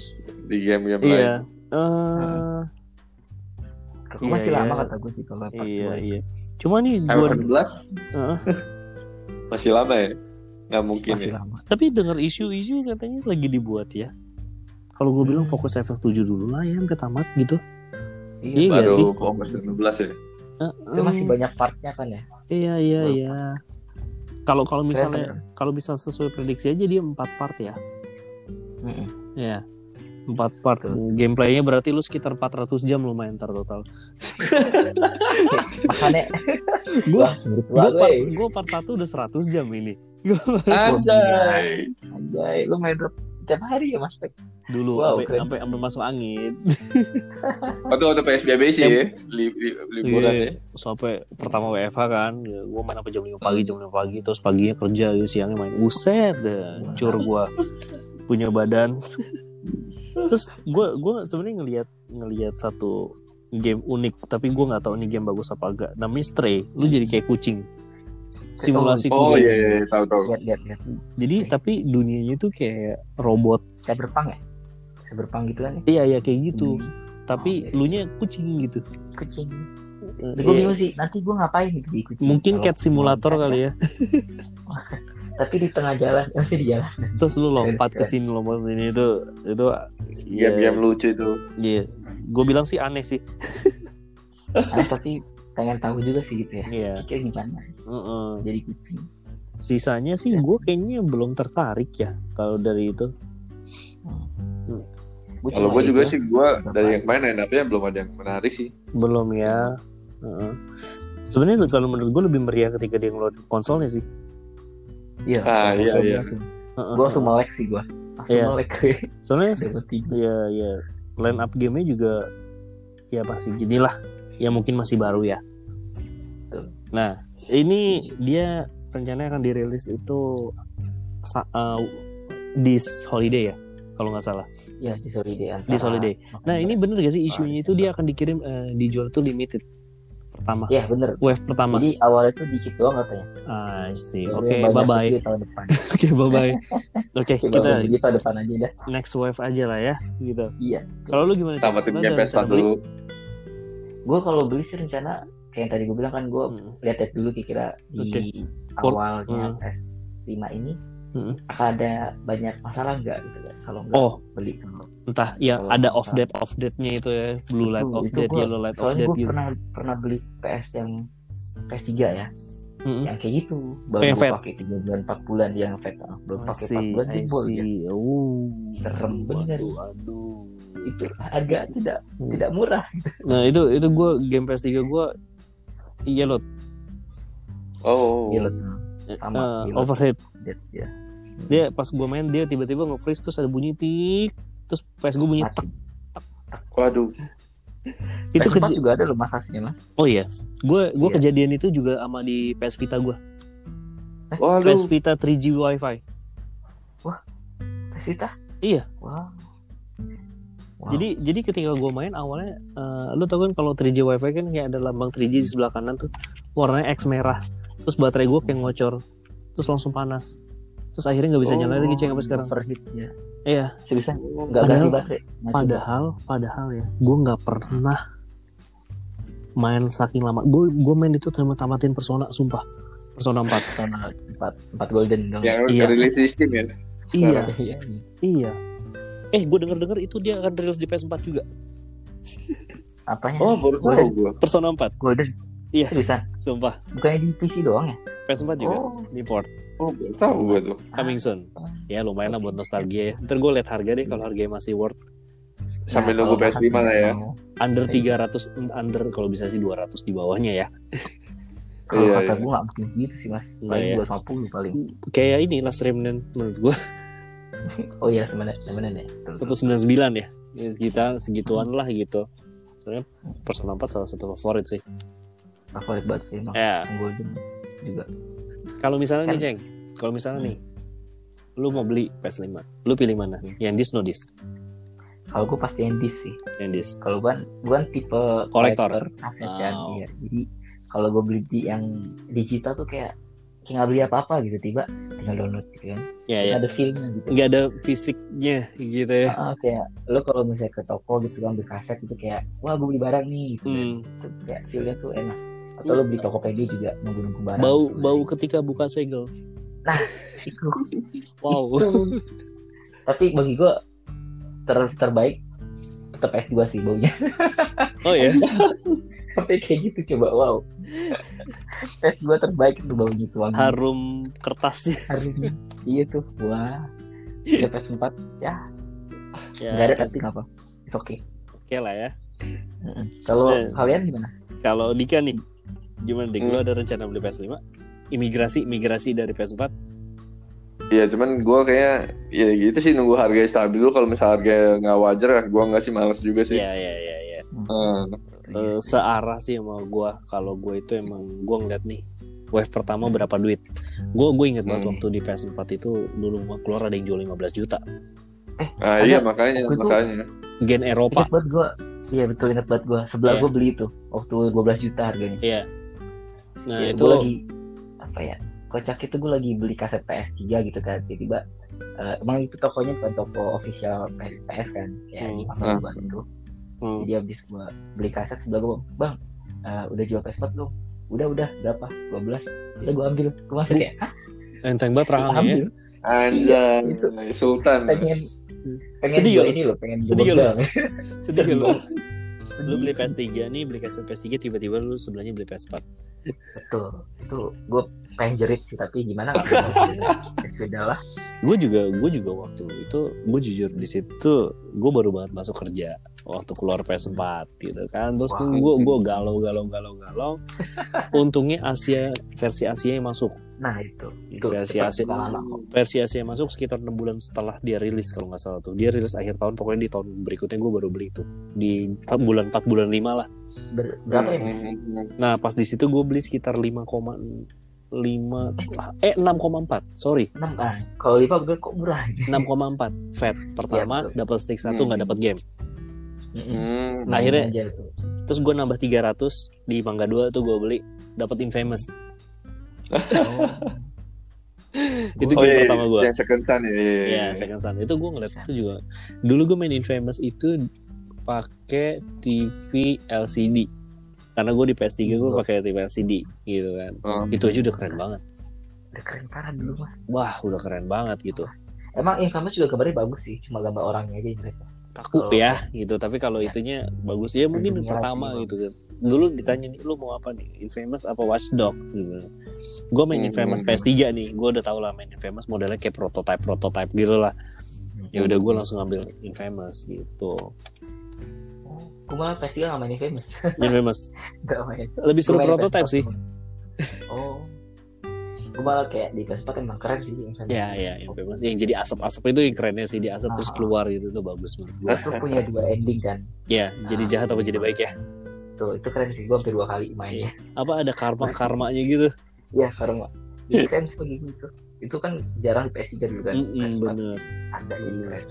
di game-game lain. Iya. Ah, Eh, sih- gua masih Iya, lama iya. kata gue sih kalau part iya 2 iya. Cuma nih Emang gue 14? Heeh. Masih lama ya? Nggak mungkin masih ya. lama tapi dengar isu-isu katanya lagi dibuat ya. Kalau gue bilang Hmm. fokus FF7 dulu lah ya, sampai tamat gitu. iya Iya Baru sih. fokus 16 ya. Eh, itu masih em, banyak partnya kan ya Iya iya Wow. iya. Kalau kalau Keren, misalnya kalau bisa sesuai prediksi aja dia empat part ya. Mm-mm. Iya. Empat part. Betul. Gameplaynya berarti lu sekitar 400 jam lu main ntar total. makanya Gua menurut gua, gua part, weh. gua part 1 udah 100 jam ini. Anjay. anjay lu main drop tiap hari ya mas Tek Dulu Wow, sampai keren. sampai sampai masuk angin. Waktu waktu PSBB sih Yang- ya, li- li- liburan Iya. ya. Sampai pertama WFH kan, ya, gua main sampai jam 5 pagi, jam 5 pagi terus paginya kerja, ya, siangnya main. Uset, dah, hancur gua punya badan. terus gua gua sebenarnya ngelihat ngelihat satu game unik, tapi gua nggak tahu ini game bagus apa enggak. Namanya Stray. Lu jadi kayak kucing. Simulasi Oh kucing. iya, iya, iya, tahu tahu. lihat lihat lihat Jadi tapi dunianya itu kayak robot. saya berpang ya saya berpang gitu kan ya Iya ya kayak gitu. Hmm. Tapi Oke. lu nya kucing gitu. kucing Eh, gue iya. bingung sih nanti gue ngapain gitu di kucing Mungkin Kalau cat simulator loncat [LAUGHS] kali ya. tapi di tengah jalan [LAUGHS] masih di jalan terus lu lompat ke Keren, sini lompat ke sini itu itu ya Game-game lucu itu. iya gue bilang sih aneh sih Nah, tapi pengen tahu juga sih gitu ya iya pikir gimana Heeh. jadi kucing sisanya sih gue kayaknya belum tertarik ya kalau dari itu Gua Kalau cuma gue juga itu. sih gue dari yang main line up-nya belum ada yang menarik sih. belum ya Heeh. sebenarnya tuh kalau menurut gue lebih meriah ketika dia ngeluarin konsolnya sih iya Ah, iya, iya. Heeh. gue langsung melek sih [LAUGHS] gue langsung Iya. melek gue soalnya dapet tiga ya ya line up gamenya juga ya masih ginilah ya mungkin masih baru ya Betul. nah ini dia rencananya akan dirilis itu sa- eh, this holiday ya kalau nggak salah ya di holiday antara This holiday. nah ini bener gak sih isunya Ah, itu dia akan dikirim eh, dijual tuh limited pertama ya bener wave pertama jadi awalnya tuh dikit doang katanya ah sih Jadi oke banyak bye bye itu tahun depan [LAUGHS] oke bye bye oke kita kita tahun depan aja dah next wave aja lah ya gitu Iya. kalau lu gimana Chan? Tamatin Lu game ada PS1 rencana dulu. gue kalau beli sih rencana kayak yang tadi gue bilang kan gue beli? Hmm. lihat dulu kira-kira di Oke. Port- Hmm. awalnya PS5 ini Hmm. akan ada banyak masalah nggak gitu kan kalau nggak oh beli kalau- entah ya Kalau ada nggak off date off date nya itu ya blue light Itu- off itu date gua- yellow light off soalnya date gue gitu pernah pernah beli PS yang PS3 ya Mm-mm. yang kayak gitu Hmm. Yang baru gue fat. pakai 3 bulan 4 bulan yang fat ah. belum pakai 4 bulan I jebol ya see. Oh. Serem bener. Waduh, aduh. itu agak tidak Hmm. tidak murah Nah itu itu gue game PS3 gue iya loh Oh. gitu Sama, eh, gila. overhead ya dia pas gue main dia tiba-tiba nge-freeze terus ada bunyi tik terus PS gue bunyi mati Waduh. itu PS4 keja- juga ada loh masasnya mas oh iya gue gue Iya. kejadian itu juga sama di PS Vita gue PS Waduh. Vita 3G WiFi PS Vita Iya. wow Wow. Jadi jadi ketika gue main awalnya eh, lu tau kan kalau 3G WiFi kan kayak ada lambang 3G di sebelah kanan tuh warnanya X merah. Terus baterai gue kayak ngocor. Terus langsung panas. Terus akhirnya nggak bisa nyala lagi ceng sampai sekarang. overheat ya Iya. seriusan nggak Padahal- ganti baterai Nggak Padahal padahal ya gue nggak pernah main saking lama. Gue gue main itu cuma tamatin persona sumpah. Persona 4. coba. sama empat empat golden dong Yang Iya. rilis di Steam ya. iya, Iya. iya. Eh, gue denger-denger itu dia akan rilis di PS4 juga. apanya Oh, baru tahu golden gua. Persona 4, golden Iya. seriusan sumpah. bukannya di PC doang ya PS4 juga. oh ah. Di port. Oh, baru tahu gua tuh. coming soon. Ya lumayan lah buat nostalgia ya. Ntar gue liat harga deh kalau harganya masih worth Sambil Nah, nunggu kalau PS5 lah ya. mau- under Iya. 300 under kalau bisa sih 200 di bawahnya ya. kalau Iya, kata iya. gue nggak mungkin segitu sih mas Nggak, paling ya. dua paling Kayak ini Last Remnant menurut gue oh iya sebenarnya sebenarnya 199 ya. Ya, Kita segituan lah gitu. Soalnya Persona 4 salah satu favorit sih. favorit banget sih emang Ya, Yang golden juga kalau misalnya nih Kan- Hmm. Ceng, kalau misalnya nih lu mau beli PS5, lu pilih mana? Yang disk no disk? kalau gue pasti endis sih Yang disk. kalau gue gue kan tipe Kolektor. Oh. aset kan Wow. iya. jadi kalau gue beli di yang digital tuh kayak kayak nggak beli apa-apa gitu tiba tinggal download gitu kan Ya ya. ada filmnya gitu Nggak ada fisiknya gitu ya. Ah, kayak lo kalau misalnya ke toko gitu ambil kaset gitu kayak wah gue beli barang nih gitu kan. Hmm. Tuh, kayak feelnya tuh enak atau lo beli Tokopedia juga nunggu nunggu barang Bau gitu. bau kan? ketika buka segel. Itu. [LAUGHS] Wow. [LAUGHS] tapi bagi gue ter terbaik tetap S2 sih baunya [LAUGHS] Oh ya. tapi kayak gitu coba [LAUGHS] wow S2 terbaik itu baunya tuh wangi Harum kertasnya. [LAUGHS] hari ini. iya tuh wah udah PS4 Ya, nggak ada pasti tapi nggak apa it's okay oke lah ya. Mm-mm. kalau Eh. kalian gimana Kalau Dika nih, gimana Dik? Hmm. Lu ada rencana beli PS5? Imigrasi, migrasi dari PS4? Iya, cuman gua kayaknya ya gitu sih nunggu harga stabil dulu kalau misalnya harga nggak wajar ah, gua nggak sih males juga sih. Ya, ya, ya, ya. Hmm. Eh, Iya. searah sih sama gua. Kalau gua itu emang gua ngeliat nih wave pertama berapa duit. Gua gue inget banget Hmm. waktu di PS4 itu dulu mau keluar ada yang jual 15 juta. Nah, Ada- iya makanya, aku tuh- makanya. Gen [LAUGHS] Eropa. ingat banget gue iya betul ingat banget gue sebelah Iya. gue beli itu waktu 12 juta harganya Nah, Ya, itu gua lagi apa ya kocak itu gue lagi beli kaset PS3 gitu kan tiba-tiba eh, emang itu tokonya bukan toko official PS PS kan ya Hmm. di Ah. Magelang Bandung tuh. Hmm. jadi habis gue beli kaset sebelah gue bang eh, udah jual PS4 belum udah udah berapa 12 udah gue ambil gue masuk ya "Hah, enteng banget rahangnya ya. ambil Anjay, Iya, itu. Sultan. pengen pengen Hmm. Sedih gua gak? ini loh pengen gue Sedih gak pegang Sedih gak lu. Lu beli Sedih, PS3 nih, beli kaset PS3 tiba-tiba lu sebelahnya beli PS4. betul itu gue pengen jerit sih tapi gimana gak [LAUGHS] apa-apa. ya sudah lah gue juga gue juga waktu itu gue jujur di situ gue baru banget masuk kerja waktu keluar PS4 gitu kan terus Wah, tuh gue gue galau galau galau [LAUGHS] galau untungnya Asia versi Asia yang masuk Nah itu. Itu versi cepat, Asia nggak lama kok. versi Asia yang masuk sekitar 6 bulan setelah dia rilis kalau nggak salah tuh dia rilis akhir tahun pokoknya di tahun berikutnya gue baru beli itu di ta- bulan 4 bulan 5 lah Ber- berapa ya? Mas? Hmm. nah pas di situ gue beli sekitar 5,5 eh 6,4 sorry 6 kan. Kalau lima gue kok murah. 6,4 fat pertama Iya, dapat stick satu Hmm. nggak dapat game Hmm. Nah, akhirnya- Aja itu. terus gue nambah 300 di mangga 2 tuh gue beli dapat infamous Oh. Itu Oh, game iya, pertama gua. Yang second son ya. iya, iya, ya iya. second son itu gue ngeliat itu juga dulu gue main infamous itu pakai TV LCD karena gue di PS3 gue pakai TV LCD gitu kan Oh. itu aja udah keren banget Udah keren parah dulu mah. wah udah keren banget gitu Emang Infamous juga kabarnya bagus sih, cuma gambar orangnya aja yang jelek. kaku Oh. Kalau- ya gitu tapi kalau itunya bagus ya mungkin Iya, Dunia pertama lagi gitu kan bagus. dulu ditanya nih lu mau apa nih infamous apa watchdog gitu gue main Hmm. infamous PS3 nih gue udah tau lah main infamous modelnya kayak prototype prototype gitu lah ya udah Hmm. gue langsung ambil infamous gitu Gue Hmm. malah pasti gak main Infamous. infamous [LAUGHS] gak main. lebih seru Gua main prototype PS4 sih cuma. Oh. Gue malah kayak di PS4 emang keren sih Infamous. ya ya infamous yang jadi asap-asap itu yang kerennya sih di asap terus Ah. keluar gitu tuh bagus menurut gue Terus punya dua ending kan. ya jadi Ah. jahat apa jadi baik ya Tuh, itu keren sih. Gue hampir dua kali mainnya. apa ada karma karmanya [LAUGHS] gitu Iya, [LAUGHS] keren banget. Itu keren sih bagi gua itu. Itu kan jarang di PS3 dulu kan. Mm-mm, PS4 bener ada jadi keren.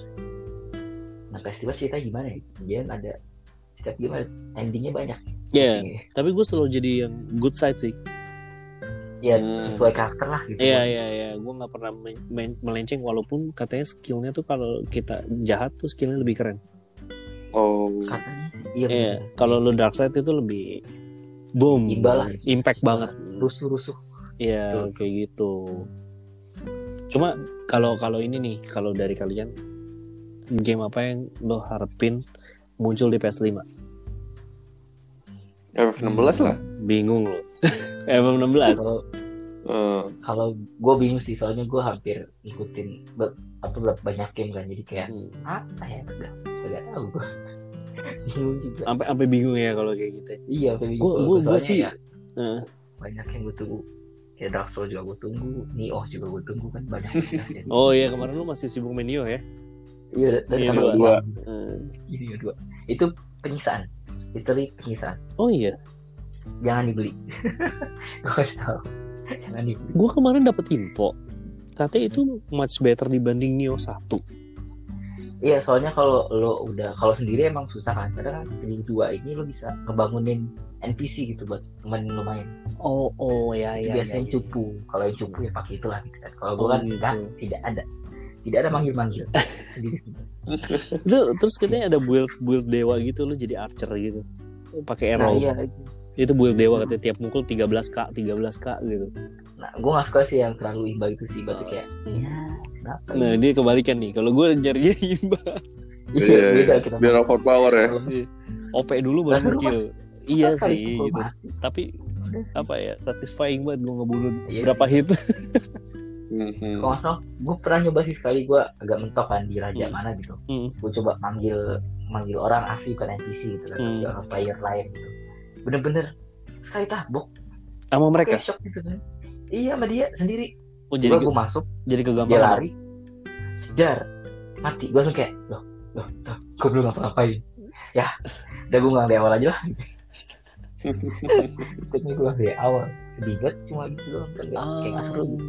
Nah, PS3 cerita gimana ya? Kemudian ada setiap game ada endingnya banyak. ya Iya. tapi gue selalu jadi yang good side sih Iya, Hmm. sesuai karakter lah gitu. Iya iya iya, gue nggak pernah men- men- melenceng walaupun katanya skillnya tuh kalau kita jahat tuh skillnya lebih keren. Oh. Katanya sih. Iya. Iya, kalau lu dark side itu lebih boom, Imbal lah. impact banget. Rusuh-rusuh. Iya kayak gitu. Cuma kalau kalau ini nih, kalau dari kalian game apa yang lo harapin muncul di PS5? F16 lah. Bingung [LAUGHS] lo. [LAUGHS] FM16. Kalau Eh, kalau gue bingung sih soalnya gue hampir ngikutin ber- apa ber- banyak game kan jadi kayak Hmm. apa ya nggak nggak tahu gue [LAUGHS] bingung juga Sampai sampai bingung ya kalau kayak gitu. iya gue bingung Gue Soalnya gue gue sih ya, eh, banyak yang gue tunggu kayak Dark Souls juga gue tunggu Nioh juga gue tunggu kan banyak yang [LAUGHS] Oh iya kemarin lu masih sibuk main Neo ya? iya dan Nioh kalau dua. dua Eh, ini dua itu penyisaan literally penyisaan oh iya, jangan dibeli [LAUGHS] gue kasih tahu jangan dibeli gue kemarin dapat info katanya itu much better dibanding Neo 1 iya soalnya kalau lo udah kalau sendiri emang susah kan karena kan di dua ini lo bisa ngebangunin NPC gitu buat temen lo main oh oh ya ya Itu biasanya ya, ya. cupu kalau yang cupu ya pakai itulah gitu kan kalau Oh, gue kan gitu. enggak tidak ada tidak ada manggil [LAUGHS] manggil sendiri sendiri Itu, terus katanya ada build build dewa gitu lu jadi archer gitu pakai nah arrow iya itu build dewa katanya tiap mukul 13k 13k gitu nah gue nggak suka sih yang terlalu imbang itu sih berarti kayak ya kenapa nah dia kebalikan nih kalau gue nyarinya imba Iya, iya, beda iya. kita Biar overpower ya. OP dulu baru Langsung skill lepas. iya Pas kali sih pukul gitu mati. tapi apa ya satisfying banget gue ngebunuh Iya berapa hit Mhm. kalau nggak salah gue pernah nyoba sih sekali gue agak mentok kan di raja Hmm. mana gitu Hmm. gue coba manggil manggil orang asli bukan NPC gitu kan Hmm. tapi orang player lain gitu bener-bener sekali tabok sama mereka kayak shock gitu kan iya sama dia sendiri oh, jadi gue gue masuk jadi dia kegambaran lari sedar mati gue langsung kayak loh loh loh gue belum ngapa-ngapain ya udah gue ngulang dari awal aja [LAUGHS] lah stepnya gue ngulang dari awal sedih banget cuma gitu doang kan nggak- kayak Ah. nggak seru gitu.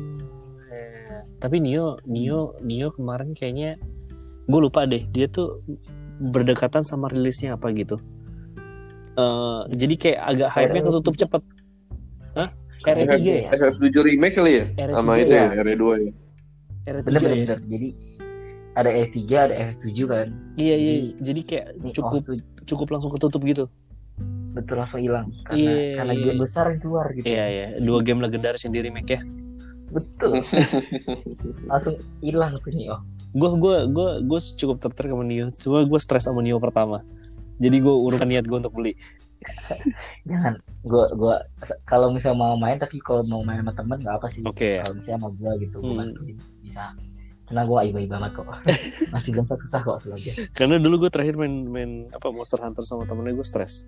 Eh, Tapi Nio, Nio, Nio kemarin kayaknya gue lupa deh. Dia tuh berdekatan sama rilisnya apa gitu. Eh, jadi kayak agak hype-nya ketutup cepet. Hah? RE3 ya? FF7 remake kali ya? RE3 Sama itu ya? ya, RE2 ya. RE3 bener bener, ya? bener. jadi ada E3 ada F7 kan Iya, iya. Jadi- Jadi kayak Ini cukup off tuh cukup langsung ketutup gitu. betul langsung hilang karena Iya, karena iya. game besar yang keluar gitu Iya, iya. Dua game legendaris yang di remake ya. [LAUGHS] betul langsung hilang tuh nih oh Gue gua, gua, gua cukup tertarik sama Nio. Cuma gue stres sama Nio pertama. Jadi gue urungkan niat gue untuk beli. jangan gue gue kalau misalnya mau main tapi kalau mau main sama temen nggak apa sih Oke. kalau misalnya sama gue gitu gue Hmm. bantuin bisa Tenang gue aib-aib banget [LAUGHS] kok. Masih belum susah kok selagi. Karena dulu gue terakhir main main apa Monster Hunter sama temennya gue stres.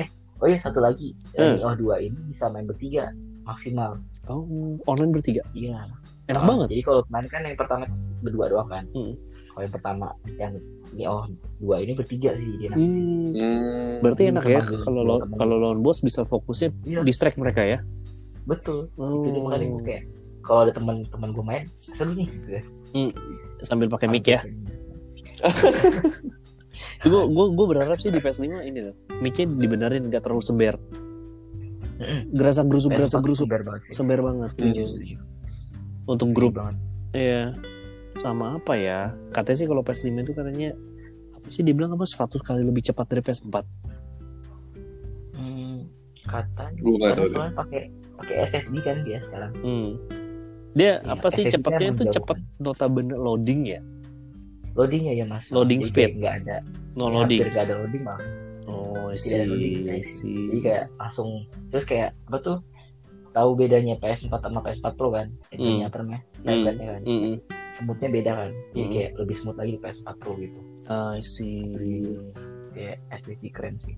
Eh, oh iya satu lagi. Hmm. Ini O2 ini bisa main bertiga maksimal. Oh, online bertiga. Iya. Enak Oh, banget. Jadi kalau kemarin kan yang pertama berdua doang kan. Hmm. Kalau yang pertama yang ini oh dua ini bertiga sih dia. Hmm. Hmm. Berarti Ini enak ya sama kalau dulu, lawan- temen. kalau lawan bos bisa fokusnya Iya. distract mereka ya. Betul. Oh. Itu makanya gue kayak kalau ada teman-teman gue main seru nih. gitu ya. Sambil pakai mic ya. Gue gue gue berharap sih di PS5 ini loh. Mic-nya dibenerin gak terlalu sember. Mm-mm. Gerasak gerusuk Eh, gerasak gerusuk sebar banget. sember banget. Setuju, setuju. Untuk grup banget. Iya. Sama apa ya? Katanya sih kalau PS5 itu katanya apa sih dibilang apa 100 kali lebih cepat dari PS4. Hmm, katanya. Gua nggak karena tahu deh. Soalnya pakai pakai SSD kan dia sekarang. Hmm. Dia Iya, apa sih SSD cepatnya emang itu jauh cepat notabene loading ya? Loadingnya ya mas. Loading Jadi speed. kayak nggak ada. No Hampir loading. nggak ada loading malah. Oh, I Tidak ada Iya, see. loading, I guys. see. Jadi kayak langsung terus kayak apa tuh? Tahu bedanya PS4 sama PS4 Pro kan? Itu Hmm. apa namanya? Hmm. Tabletnya kan. Mm-mm. Smoothnya beda kan. Jadi Hmm. kayak lebih smooth lagi di PS4 Pro gitu. I see. Iya. Kayak SSD keren sih.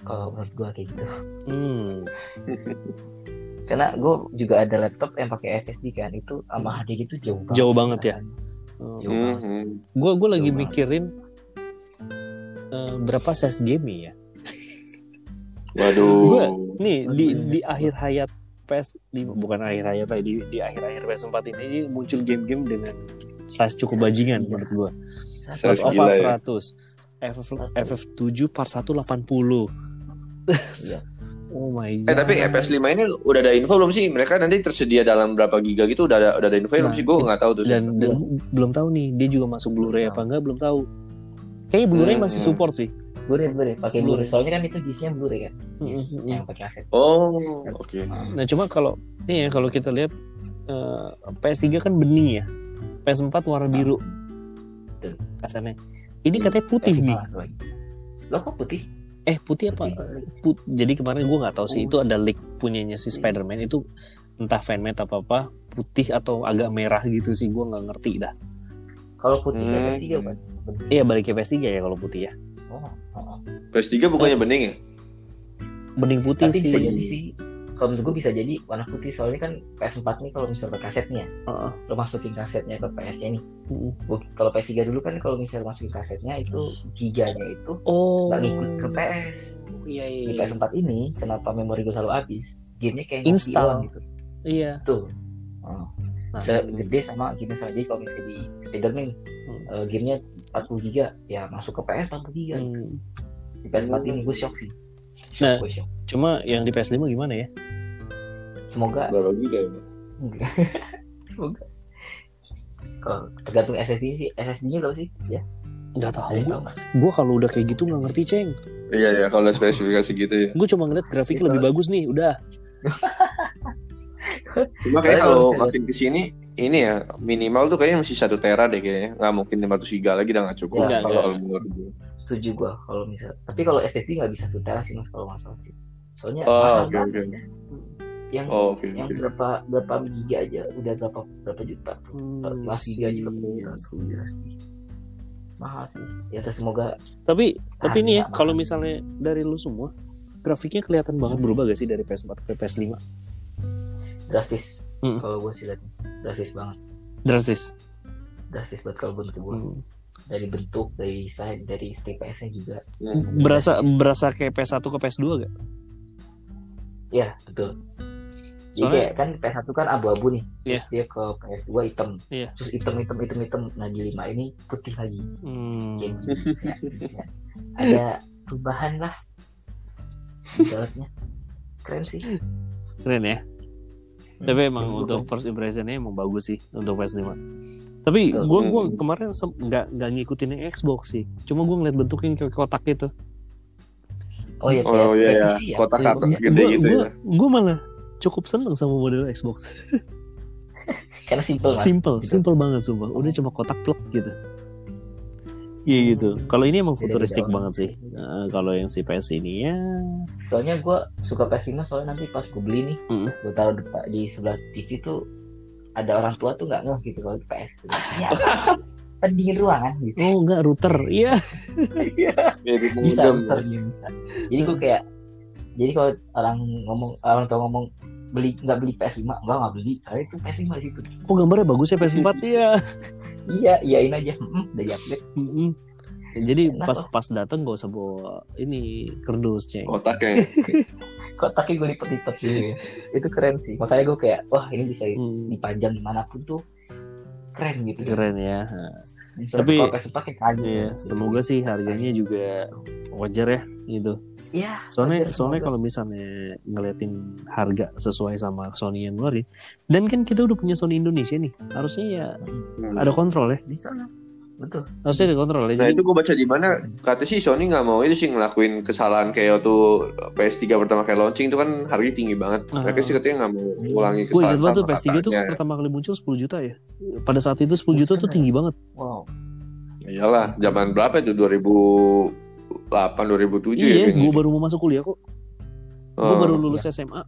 Kalau menurut gua kayak gitu. Hmm. Karena gua juga ada laptop yang pakai SSD kan itu sama HD gitu jauh banget. Jauh sih banget ya? rasanya. Oh. Jauh. Hmm, hmm. Gua gua lagi Jauh banget. mikirin eh, berapa size game ya? Waduh. Gua- Nih Aduh, di iya. di akhir hayat PS5 bukan akhir hayat lah, di di akhir akhir PS4 ini muncul game-game dengan size cukup bajingan Iya. menurut gua. Size Last of Us gila ya. 100, FF FF7 part 1 80. Iya. [LAUGHS] oh my god. Eh tapi PS5 ini udah ada info belum sih? Mereka nanti tersedia dalam berapa giga gitu udah ada udah ada info belum Nah, sih? Gue nggak tahu tuh. dan, dan belum tahu nih dia juga masuk Blu-ray apa enggak belum tahu. Kayaknya Blu-ray Iya. Hmm. masih support sih. Blu-ray, Blu-ray. Pakai Blu-ray. Blu-ray. Soalnya kan itu disnya Blu-ray kan. Hmm, Hmm, Dis yang pakai E aset. Oh, oke. Nah cuma kalau ini ya kalau kita lihat eh, PS3 kan bening ya, PS4 Nah. warna biru Betul. kasarnya. Ini katanya putih Eh, nih. malah dua. Lo kok putih? Eh putih apa? Putih. Put- Jadi kemarin gue nggak tahu sih Oh. itu ada leak punyanya si Spider-Man itu entah fanmade apa apa putih atau agak merah gitu sih gue nggak ngerti dah. Kalau putih Hmm. saya tiga kan. Iya balik ke PS3 ya kalau putih ya. Oh, oh, oh. PS3 bukannya bening ya? Bening putih Tapi sih. bisa jadi sih. Kalau menurut gue bisa jadi warna putih soalnya kan PS4 nih kalau misalnya kasetnya, Heeh. lo masukin kasetnya ke PS-nya nih. Mm. Gua- Kalau PS3 dulu kan kalau misalnya masukin kasetnya itu giganya itu Oh. nggak ngikut ke PS. Iya Di iya. PS4 ini kenapa memori gue selalu habis? Gamenya kayak Install. nggak hilang gitu. Iya. Tuh. Oh. Nah, segede sama game sama jadi kalau misalnya di Spiderman Hmm. eh, gamenya 40 giga ya masuk ke PS 40 giga hmm. di PS4 ini gue shock sih Nah. gue shock Cuma yang di PS5 gimana ya? semoga [LAUGHS] Berapa giga? ya? semoga kalau tergantung SSD sih SSD nya berapa sih ya Nggak tahu. ada yang Gue tahu nggak? Eh, gua kalau udah kayak gitu nggak ngerti ceng. Iya ya, kalau udah spesifikasi gitu ya. Gue cuma ngeliat grafik lebih bagus nih. Udah. Cuma Soalnya kayak kalau kalau misalnya- makin kesini ini ya minimal tuh kayaknya masih satu tera deh kayaknya. Nggak mungkin 500 giga lagi udah nggak cukup. Nggak, kalau nggak. menurut gue. setuju gue kalau misal tapi kalau SSD nggak bisa tutara sih mas kalau masalah sih soalnya Hmm. Oh, mahal oke oke. banget yang Oh, oke yang oke. berapa berapa giga aja udah berapa berapa juta Hmm, masih sih. dia juga iya, punya mahal sih ya semoga Tapi tapi Ah, ini ya nggak kalau mahal. misalnya dari lu semua grafiknya kelihatan banget berubah gak sih dari PS4 ke PS5? drastis Hmm. Mm. kalau gue sih liatnya. drastis banget Drastis. Hmm. drastis banget kalau menurut gue Hmm. dari bentuk dari desain dari TPS nya juga Berasa berasa kayak PS1 ke PS2 gak? ya betul jadi Soalnya- kayak kan PS1 kan abu-abu nih terus Iya. dia ke PS2 hitam Iya. terus hitam hitam hitam hitam nah di 5 ini putih lagi Hmm. Iya. game ini ya, ya. [LAUGHS] ada perubahan lah Jalannya keren sih Keren ya. Hmm. Tapi emang Game untuk gue- first impressionnya emang bagus sih untuk PS5. Tapi Betul. gue gua Hmm. kemarin sem- nggak nggak ngikutin yang Xbox sih. Cuma gue ngeliat bentuknya kayak kotak gitu. oh iya Oh kayak- iya kayak ya, PC kotak Iya, kotak iya. gede Gua- gitu gua, ya. Gue malah cukup seneng sama model Xbox. karena simple mas Simple, Gitu. simple banget sumpah. Udah cuma kotak plek gitu. Iya gitu. Hmm. Kalau ini emang Beda-beda futuristik banget. banget sih. Nah, kalau yang si PS ini ya soalnya gue suka PS5 soalnya nanti pas gue beli nih Mm. gue taruh depan di sebelah TV tuh ada orang tua tuh nggak ngeh gitu kalau di PS gitu. ya, [LAUGHS] pendingin ruangan gitu Oh enggak router. Iya. Mirip bisa modem. router dia bisa jadi gue kayak jadi kalau orang ngomong orang tua ngomong beli nggak beli PS5 enggak nggak beli soalnya itu PS5 di situ Oh gambarnya bagus ya PS4 ya. iya iyain aja hmm, udah update Mm-mm. Jadi Enak pas loh. pas datang gak usah bawa ini kerdus ceng. Kotaknya. kotaknya gue lipet-lipet gitu ya. itu keren sih makanya gue kayak wah ini bisa iya. Hmm, dipajang dimanapun tuh keren gitu keren ya. tapi Tapi- kalau PS4 kayak kayu Iya, semoga sih harganya juga wajar ya gitu. Iya, Soalnya wajar, soalnya semoga. kalau misalnya ngeliatin harga sesuai sama Sony yang ngeluarin dan kan kita udah punya Sony Indonesia nih. Harusnya ya ada kontrol ya. di sana betul Harusnya ada kontrol ya. Iya. Nah Jadi- itu gue baca di mana kata sih Sony nggak mau itu sih ngelakuin kesalahan kayak waktu PS3 pertama kali launching itu kan harganya tinggi banget. Mereka Ah. sih katanya nggak mau ngulangi Gue ingat kesalahan banget tuh sama PS3 tuh katanya. pertama kali muncul 10 juta ya. Pada saat itu 10 juta tuh Buset, tinggi banget. wow Iyalah, zaman berapa itu 2008 2007 ya Iya, kayaknya. gue baru mau masuk kuliah kok. Gue Oh, baru lulus SMA.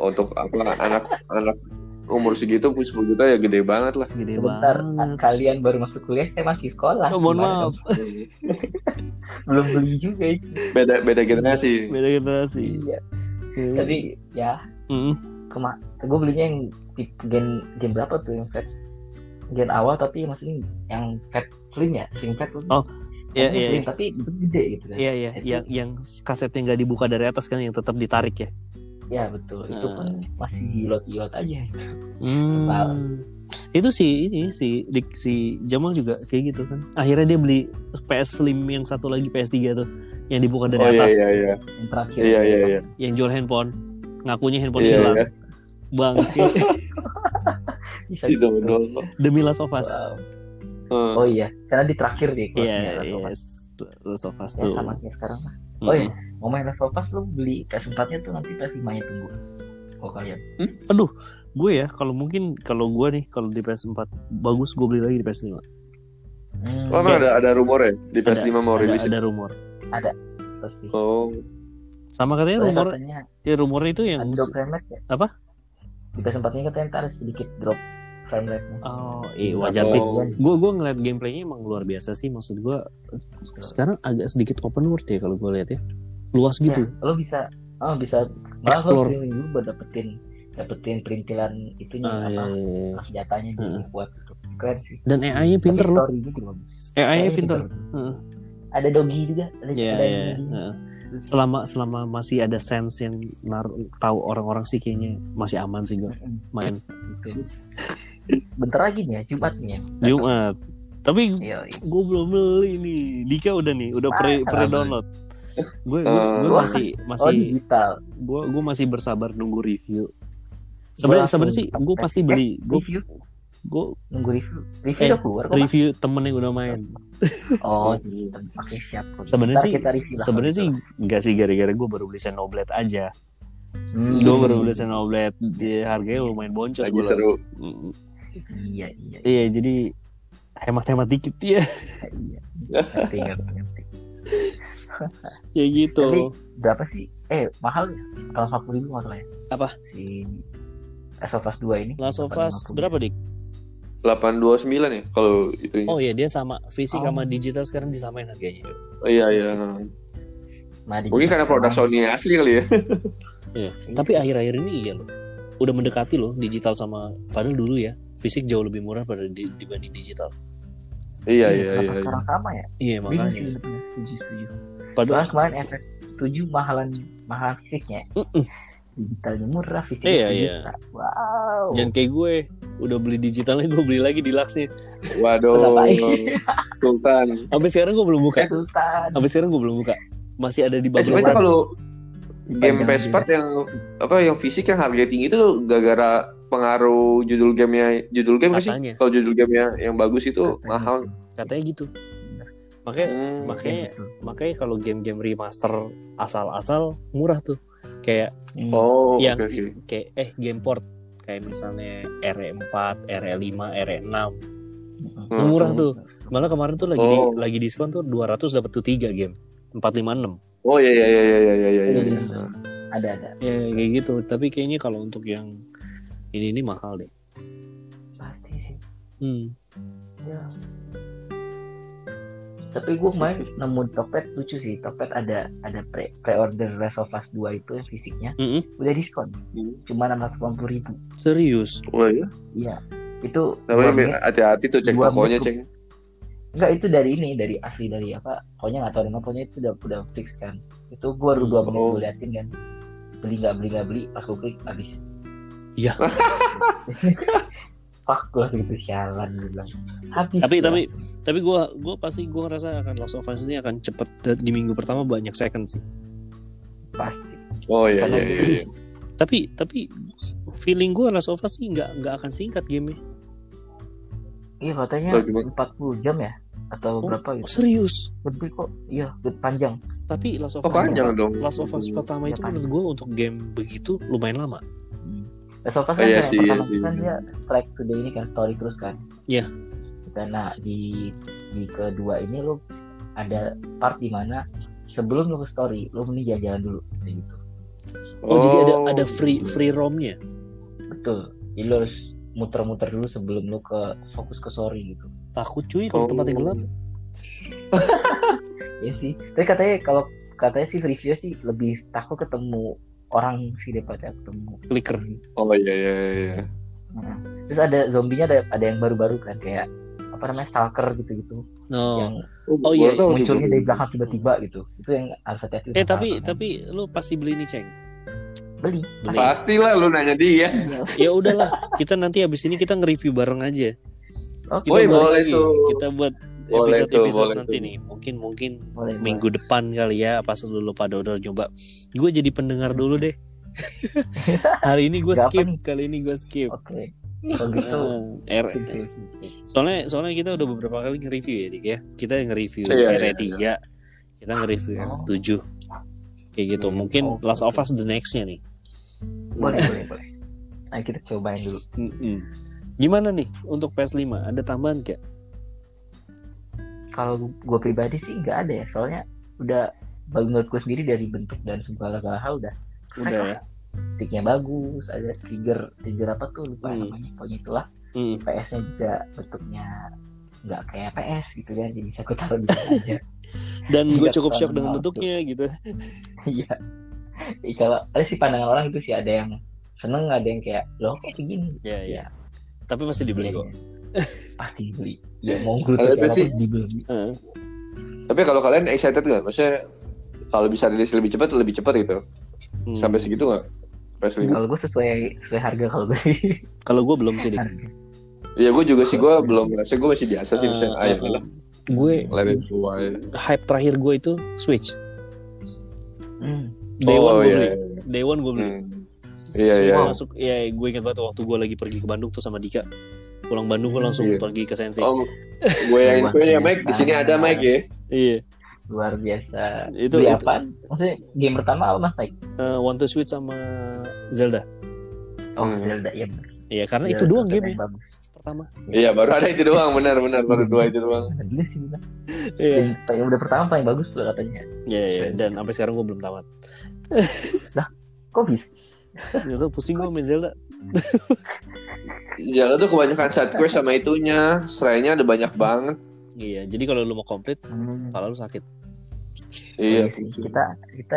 untuk apa anak anak umur segitu 10 juta ya gede banget lah. Gede sebentar banget. kalian baru masuk kuliah saya masih sekolah Oh, mohon Gimana maaf. dong? belum beli juga itu Beda beda generasi. Beda generasi. iya Hmm. tapi ya Mm. kema gue belinya yang tip- gen gen berapa tuh yang set gen awal tapi maksudnya yang fat slim ya slim fat tuh Oh, Iya, Tapi iya, slim tapi gede gitu kan iya, iya. Itu- Yang yang kasetnya nggak dibuka dari atas kan yang tetap ditarik ya. ya betul itu Nah. pun masih gilot gilot aja Tebal. Hmm. Itu si ini si Dik- si Jamal juga kayak gitu kan. Akhirnya dia beli PS Slim yang satu lagi PS3 tuh yang dibuka dari Oh iya atas iya iya. yang terakhir Iya iya iya. yang jual handphone ngakunya handphone Iya hilang iya. [LAUGHS] bang bisa Si gitu. dodol. demi Last of Us Wow. oh Hmm. iya karena di terakhir deh keluarnya, Iya, Last of Us. yes. Last of Us ya tuh. sama kayak sekarang lah Mm. oh iya mau main Last of Us lu beli PS4 nya tuh nanti PS5 nya tunggu oh kalian Aduh, gue ya kalau mungkin kalau gue nih kalau di PS4 bagus gue beli lagi di PS5. hmm, Oh, emang ada ada rumor ya iya. di Ada, PS5 mau Ada, rilis. ya? ada rumor. pasti Oh, Sama katanya Soalnya rumor katanya ya rumornya itu yang ada drop frame rate ya Apa? di PS4 nya katanya ntar ada sedikit drop frame rate nya oh, iya wajar Oh. sih. Gue gue ngeliat gameplaynya emang luar biasa sih maksud gue sekarang agak sedikit open world ya kalau gue lihat ya. Luas gitu. lo bisa oh bisa malah Explore. lo streaming dulu buat dapetin dapetin perintilan itunya Ah, iya, apa iya, iya. senjatanya gitu Heeh. buat itu keren sih Dan AI-nya pinter Tapi loh. story-nya juga bagus. AI-nya Story-nya Eh, pinter. bagus. Heeh. ada dogi juga ada Iya, ada iya. dogi. Heeh. Selama selama masih ada sense yang naruh tahu orang-orang sih kayaknya masih aman sih gue Mm-mm, main betul. hmm, gitu. bentar lagi nih ya Jumat nih ya Jumat. Tapi Yoi. gue belum beli nih Dika udah nih udah pre Masa pre nggak download gue Eh, gue wah. masih oh masih digital gue gue masih bersabar nunggu review Gua sebenarnya langsung sebenarnya sih gue tes. pasti beli gue review gue nunggu review review Eh, udah keluar kok Mas. review temen yang udah main oh iya. oke siap Sebenarnya Ntar sih- kita review lah sebenarnya sih kalau nggak sih gara-gara gue baru beli Xenoblade aja gitu. gue Hmm. baru beli Xenoblade dia harganya lumayan boncos lagi gue seru. iya iya iya jadi hemat-hemat dikit ya [LAUGHS] iya ngerti ngerti ngerti. ya Tapi- gitu berapa sih eh mahal ya kalau 40 ribu masalahnya Apa? si Last of Us 2 ini Last of Us 450. berapa dik 829 ya kalau itu. oh iya dia sama fisik Oh. sama digital sekarang disamain harganya Iya iya. nah, di- Mungkin karena produk Sony asli kali ya. Iya. Tapi akhir-akhir ini iya loh. Udah mendekati loh digital sama padahal dulu ya fisik jauh lebih murah pada di- dibanding digital. iya Kenapa iya iya. iya. sekarang sama ya Iya bingung sih makanya. sebenarnya. setuju setuju soalnya Padahal kemarin efek 7 mahalan mahalan fisiknya Mm-mm. digitalnya murah fisiknya Iya, tujuh iya. juta. wow Oh. jangan kayak gue udah beli digitalnya gue beli lagi di Lux nih. Waduh. Kenapa? [LAUGHS] Sultan. Sampai sekarang gue belum buka. Sultan Sampai sekarang gue belum buka. Masih ada di Eh, bubble cuma sebenarnya itu wrap. kalau game Panjang PS4 yang apa yang fisik yang harga tinggi itu gara-gara pengaruh judul gamenya judul game nggak sih? Katanya. Kalau judul gamenya yang bagus itu Katanya. mahal. Katanya gitu. Makanya Hmm. makanya Betul. makanya kalau game-game remaster asal-asal murah tuh. Kayak Hmm. Oh, oke yang oke. kayak eh game port kayak misalnya E RE4, RE5, RE6 Hmm. Yang murah Hmm. tuh. E Malah kemarin tuh lagi Oh. lagi diskon tuh 200 dapat tuh 3 game. 456. Oh iya iya iya iya iya iya. iya. ada ada Iya, Ya kayak gitu. Tapi kayaknya kalau untuk yang ini ini mahal deh. pasti sih Hmm. ya. tapi gue kemarin nemu Tokped lucu sih Tokped ada ada pre order Last of Us 2 itu yang fisiknya Mm-mm. udah diskon Hmm. cuma enam ratus ribu Serius? Wah iya. iya itu Tapi gua liat- hati-hati tuh cek Gua tokonya butuh- cek. Enggak itu dari ini dari asli dari apa pokoknya nggak tahu nama pokoknya itu udah udah fix kan itu gua baru dua menit Oh. gua liatin kan beli nggak beli nggak beli pas gua klik habis Iya. [LAUGHS] fuck gua langsung gitu sialan gua bilang habis Tapi- gua tapi- langsung. Tapi gua gua pasti gua ngerasa akan Last of Us ini akan cepet dan di minggu pertama banyak second sih. pasti Oh iya Karena iya iya. iya. Tapi tapi feeling gua Last of Us sih nggak nggak akan singkat game iya katanya Oh, cuma- 40 jam ya atau Oh. berapa gitu serius. lebih kok iya lebih panjang Tapi Last of Us Kok Oh, panjang pertama- dong? Last of Us pertama Iya, itu panjang. menurut gua untuk game begitu lumayan lama. Hmm. Last of Us Oh, kan iya yang sih, iya pertama sih. kan dia strike to the ini kan story terus kan. Iya. Karena di di kedua ini lo ada part di mana sebelum lo ke story lo mending jalan-jalan dulu kayak gitu. Oh, jadi ada ada free free romnya. Betul. Jadi lo harus muter-muter dulu sebelum lo ke fokus ke story gitu. Takut cuy kalau Oh. tempat yang gelap. Iya sih. Tapi katanya kalau katanya sih review sih lebih takut ketemu orang sih daripada ketemu. Clicker. Oh iya iya iya. Nah, Terus ada zombinya ada ada yang baru-baru kan kayak apa namanya stalker gitu-gitu No. yang Oh, iya, gua tahu tuh, munculnya gua. dari belakang tiba-tiba gitu itu yang harus hati-hati Eh sama tapi orang. tapi lu pasti beli nih ceng. beli Beli. Pastilah lu nanya dia. Ya udahlah, kita nanti habis ini kita nge-review bareng aja. Oke. Kita Woi, buat boleh tuh. Kita buat Boleh episode tuh, episode boleh nanti tuh. nih. Mungkin mungkin Boleh, minggu depan kali ya pas lu lupa pada udah nyoba. Gue jadi pendengar dulu [LAUGHS] deh. Hari ini gue Gak apa skip, nih? kali ini gue skip. boleh. oke kalau gitu Eh, R. sip, sip, sip, sip. Soalnya soalnya kita udah beberapa kali nge-review ya, Dik ya. Kita nge-review Iya, RE3, kita nge-review Oh. FF7. Kayak gitu. Mungkin Oh. Last of Us the next-nya nih. boleh boleh boleh nah kita cobain dulu Mm-mm. Gimana nih untuk PS5? Ada tambahan gak? kalau gue pribadi sih nggak ada ya soalnya udah bagi menurut gue sendiri dari bentuk dan segala hal udah Udah ya. sticknya bagus ada trigger trigger apa tuh lupa Hmm. namanya pokoknya itulah Hmm. Mm. PS-nya juga bentuknya nggak kayak PS gitu kan jadi bisa gue taruh di mana [LAUGHS] aja Dan gue Tidak cukup shock dengan pernah tuh. bentuknya gitu. Iya. Ih, kalau ada sih pandangan orang itu sih ada yang seneng, ada yang kayak loh kayak gini. Ya, Iya. Iya. ya. Tapi pasti dibeli kok. [LAUGHS] Pasti dibeli. Ya mau gue Kalau itu sih- dibeli. Heeh. Tapi kalau kalian excited nggak? Maksudnya kalau bisa rilis lebih cepat lebih cepat gitu. Hmm. Sampai segitu nggak? PS5. Kalau gue sesuai sesuai harga kalau gue sih. Kalau gue belum sih, Dik. Hmm. Iya gue juga sih gue belum. Maksudnya gue masih biasa sih. Eh, Maksudnya ayo lah. Gue Let it fly. hype terakhir gue itu Switch. Hmm. Day one Oh gue iya. beli. Day one gue beli. Hmm. Iya, Switch iya. masuk ya gue ingat banget waktu gue lagi pergi ke Bandung tuh sama Dika pulang Bandung gue langsung Iya. pergi ke Sensi Oh, gue yang Luar info ya Mike. Di biasa. sini ada Mike ya. iya Luar biasa. itu, Beli itu apa? Maksudnya game pertama apa Mas Naik? eh, One to Switch sama Zelda Oh Hmm. Zelda ya. bener. iya karena Zelda itu doang yang game ya Bagus. pertama Iya baru ada itu doang. Benar benar baru dua itu doang. Bener juga sih. bener. iya Yang paling udah pertama paling bagus tuh katanya. iya iya. dan sampai sekarang gue belum tamat Kok bisa? Gak tau pusing gue main Zelda Jalan Ya, tuh kebanyakan side quest sama itunya. Serainya ada banyak banget. iya jadi kalau lu mau komplit Hmm. kepala lu sakit Iya. sih. Kita kita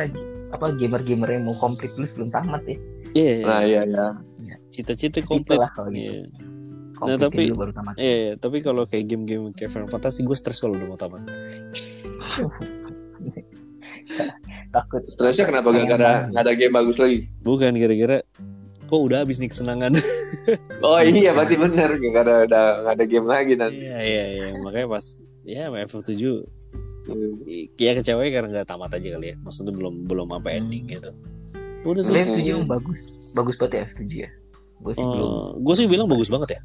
apa gamer-gamer yang mau komplit dulu sebelum tamat ya. iya iya. Nah iya iya. cita-cita Itu komplit lah kalau gitu. iya Komplit tapi- dulu baru tamat. Iya, iya. tapi kalau kayak game-game kayak Final Fantasy gue stres kalau udah mau tamat Takut Stresnya kenapa gak ada gak ada game bagus lagi? bukan gara-gara kok udah habis nih kesenangan Oh iya, berarti benar gak ada ada gak ada game lagi nanti. [LAUGHS] Iya iya iya makanya pas ya sama FF7 Hmm. ya kecewanya karena nggak tamat aja kali ya maksudnya belum belum apa ending gitu udah Gue sih setuju bagus. Bagus banget ya F7 ya. Gue sih belum. gue sih bilang bagus banget ya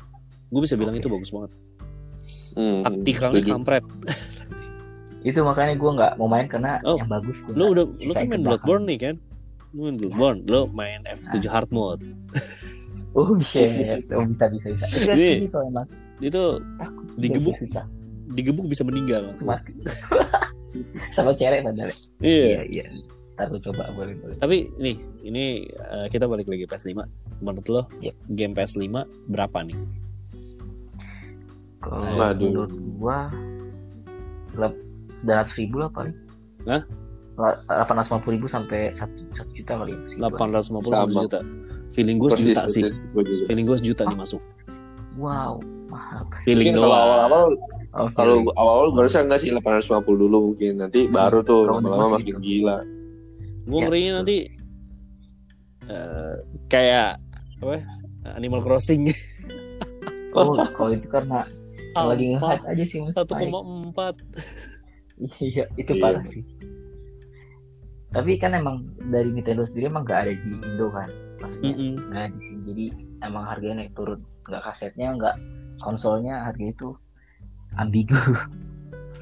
gue bisa bilang Oke. itu bagus banget Hmm, taktikalnya setuju. kampret Itu makanya gue nggak mau main karena Oh, yang bagus gue. lo udah Sisa lo kan ikut main belakang. Bloodborne nih kan lo main Bloodborne lo main F7 hard mode Oh shit. Oh bisa bisa bisa. Iya Ini- sih soalnya mas. itu Takut. Digebuk. Iya, Susah. [LAUGHS] digebuk bisa meninggal langsung Mati. Sama cewek padahal. iya Iya iya. ntar lu coba boleh boleh Tapi nih, ini eh, kita balik lagi PS5. Menurut lo, Iya. game PS5 berapa nih? kalau Waduh. menurut gua sembilan ratus ribu lah paling Hah? delapan ratus ribu sampai satu satu juta kali ya, sih. 850 Sama. juta. Feeling gue sejuta sih. Gua juga. Feeling gue sejuta nih masuk. wow mahal Feeling Mungkin doang. kalau awal-awal Oke. kalau awal-awal gua rasa enggak sih 850 dulu mungkin nanti baru tuh Kalau lama-lama masih makin gitu. gila. Gue iya. Ya, ngerinya betul. nanti eh, kayak apa? ya, Animal Crossing. oh kalau itu [LAUGHS] karena lagi nge-hype aja sih mas Satu naik. koma empat. [LAUGHS] Iya, itu Iya. parah sih. Tapi kan emang dari Nintendo sendiri emang nggak ada di Indo kan, Iya. maksudnya Mm-mm. nggak di sini. Jadi emang harganya naik turun, nggak kasetnya, nggak konsolnya harganya itu ambigu,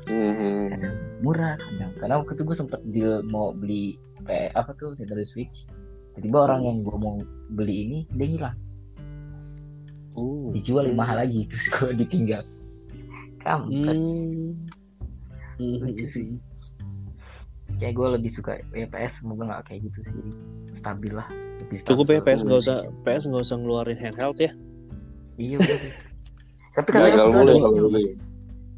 Mhm. kadang murah, kadang. Karena waktu itu gue sempet deal mau beli P- apa tuh Nintendo Switch, tiba-tiba orang yang gue mau beli ini dia hilang, Oh. Iya, dijual lebih mahal lagi, terus gue ditinggal. Kamu Hmm. Lucu iya Mm-hmm. sih. kayak gue lebih suka PS semoga nggak kayak gitu sih Jadi stabil lah lebih stabil. Cukup ya PS nggak usah PS nggak usah ngeluarin handheld ya. iya bener sih. tapi Gagal katanya ada mulu kalau leak-nya, beli. Mas.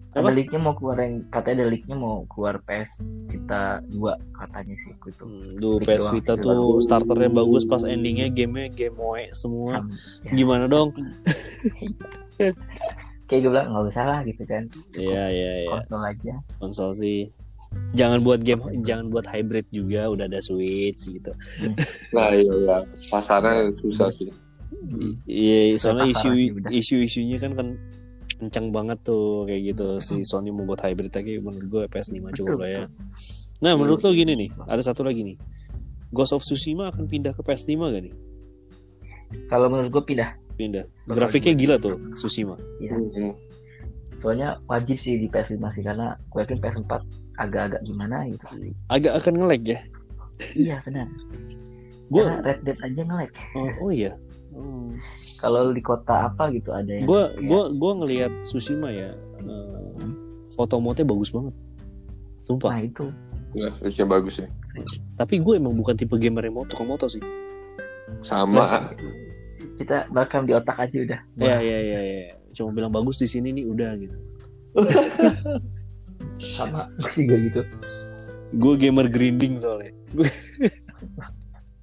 Apa? ada leaknya mau keluar yang katanya ada leaknya mau keluar PS kita dua katanya sih aku itu Hmm, Duh, PS Sedikit doang, Iya. Vita sedikit tuh doang. starternya bagus pas endingnya gamenya game oe semua. Sam- ya. Gimana dong? kayak gue bilang nggak usah lah gitu kan Iya iya iya konsol aja konsol sih. Jangan buat game, jangan buat hybrid juga. Udah ada Switch gitu. Nah, iya iya. Pasarnya susah sih. Iya, soalnya Pasar isu aja udah. isu isunya kan kan kencang banget tuh kayak gitu Iya. si Sony mau buat hybrid lagi menurut gue PS5 cukup lah ya. Nah menurut Iya, lo gini nih, ada satu lagi nih. Ghost of Tsushima akan pindah ke PS5 gak nih? kalau menurut gue pindah Pindah. Grafiknya gila tuh Tsushima. Iya. Mhm. soalnya wajib sih di PS5 sih karena gue yakin PS4 agak-agak gimana gitu sih Agak akan nge-lag ya. iya benar Gue karena Red Dead aja nge-lag oh, oh iya. Oh. kalau di kota apa gitu ada yang Gue kayak- gua gua ngelihat Tsushima ya. eh, foto mode bagus banget. Sumpah. nah itu Ya, lucu bagus ya. Tapi gue emang bukan tipe gamer yang moto moto sih. Nah, Sama. kita bakam di otak aja udah Iya iya iya. Ya. Cuma bilang bagus di sini nih udah gitu. sama [LAUGHS] sih gue gitu Gue gamer grinding soalnya.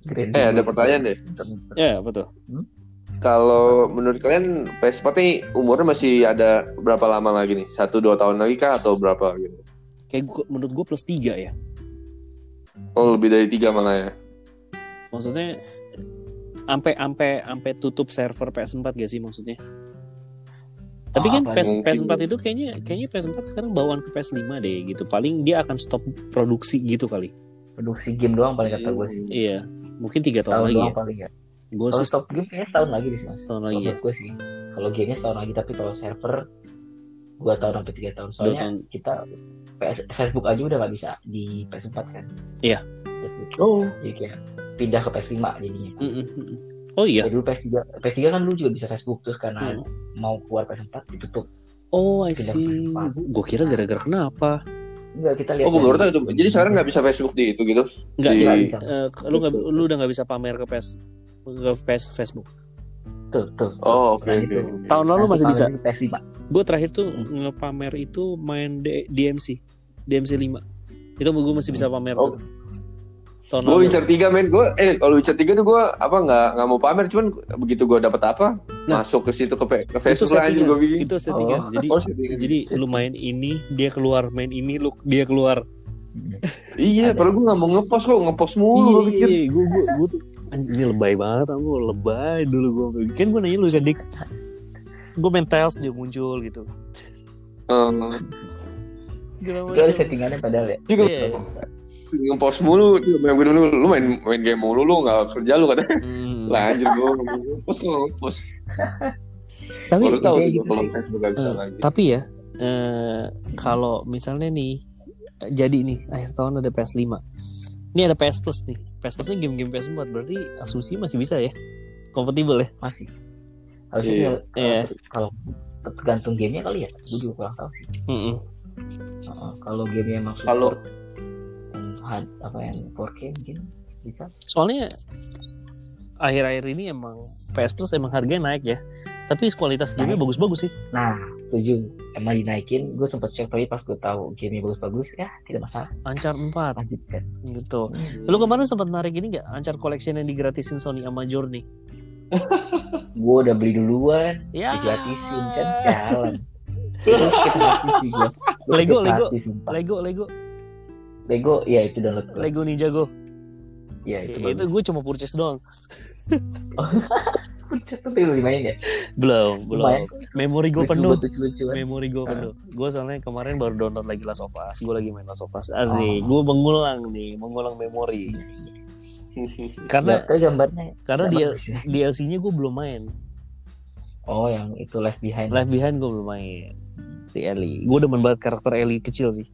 Keren. Eh, ada pertanyaan deh. Ya betul. Kalau menurut kalian PS4 nih umurnya masih ada berapa lama lagi nih? Satu dua tahun lagi kah atau berapa gitu? Kayak gua- menurut gue plus tiga ya. Oh lebih dari tiga malah ya. Maksudnya ampe ampe ampe tutup server PS4 gak sih maksudnya? Tapi kan Ah, PS, mungkin. PS4 itu kayaknya kayaknya PS4 sekarang bawaan ke PS5 deh gitu. Paling dia akan stop produksi gitu kali. produksi game doang paling kata gue sih Iya, mungkin tiga tahun tahun lagi doang ya. paling ya Gue kalau sih stop game kayaknya setahun lagi deh sih mas setahun Kalau lagi ya. menurut gue sih kalau gamenya setahun lagi tapi kalau server dua tahun sampai tiga tahun Dua soalnya tahun. kita PS, Facebook aja udah nggak bisa di PS4 kan Iya. Facebook. Oh. jadi kayak pindah ke PS5 jadinya Mm, Mm-mm, mm-mm. Oh iya. Jadi dulu PS3 PS3 kan dulu juga bisa Facebook terus karena Mm. mau keluar PS4 ditutup Oh I Nah, Pindah see. ke Gue kira gara-gara kenapa? Enggak kita lihat. Oh gue baru dari- tahu itu. Jadi sekarang nggak bisa Facebook di itu gitu? Enggak, Di- ya. Nggak bisa. Eh, lu nggak lu udah nggak bisa pamer ke PS ke PS Facebook. Tuh, tuh. Oh oke Nah, oke. itu. oke. Tahun lalu Nanti masih bisa. pamer di PS5. Gue terakhir tuh ngepamer itu main D- DMC, DMC 5. Itu gue masih bisa pamer. Oh. tuh. Tahun Gue lalu. Witcher 3 men, gue eh kalau Witcher 3 tuh gue apa nggak nggak mau pamer, cuman begitu gue dapet apa Nah. masuk ke situ ke, pe- Itu ke Facebook lah settingan. anjing gue bikin. Itu settingan. Jadi Oh, settingan. jadi lu main ini, dia keluar, main ini, lu dia keluar. Iya, Ada. padahal gue nggak mau ngepost kok, ngepost mulu gue pikir. Iya, gue gue gue tuh anjing, ini lebay banget kamu lebay dulu gue kan gue nanya lu kan dik gue main tiles dia muncul gitu Eh, Gila Itu ada settingannya padahal ya. Juga Iya. ngepost mulu, dia main gue dulu, lu main main game mulu, lu nggak kerja lu katanya. Hmm. Lah anjir gue ngepost gue ngepost. tapi Baru tahu Iya, tuh gua gitu kalau sih. Facebook nggak bisa Eh, lagi. tapi ya eh, kalau misalnya nih eh, jadi nih akhir tahun ada PS 5 ini ada PS Plus nih PS Plus ini game-game PS 4 berarti asumsi masih bisa ya kompatibel ya Masih. Harusnya Iya. kalau- Iya. kalau tergantung gamenya kali ya. Gue juga kurang tahu sih. Mm-mm. Heeh, Kalau gamenya emang Kalau- support, hmm, hard apa yang 4K mungkin bisa Soalnya akhir-akhir ini emang PS Plus emang harganya naik ya. Tapi kualitas gamenya bagus-bagus sih. nah setuju emang dinaikin gue sempat shock tapi pas gue tahu game bagus-bagus ya tidak masalah Ancar 4 lanjutkan gitu. Lu kemarin sempat narik ini gak? Ancar collection yang digratisin Sony sama Journey. gue udah beli duluan Ya. digratisin kan jalan terus kita gratisin gua. Terus Lego, gua Lego. gratisin, Pak. Lego, Lego, Lego ya itu download gue Lego Ninja Go. ya itu Itu, gue cuma purchase doang. bagus tapi lu dimain ya Belum, Lumayan. belum. Memori gue Lucu penuh. Iya, buat lucu-lucuan Memori Nah. gue penuh. Gue soalnya kemarin baru download lagi Last of Us. Gue lagi main Last of Us. Asik. Oh. Gue mengulang nih, mengulang [LAUGHS] memori. karena Nah. Karena Ya, gambarnya karena nggak dia bagus ya. DLC-nya gue belum main. oh yang itu left behind Left Behind gue belum main. Si Ellie. Gue demen banget karakter Ellie kecil sih.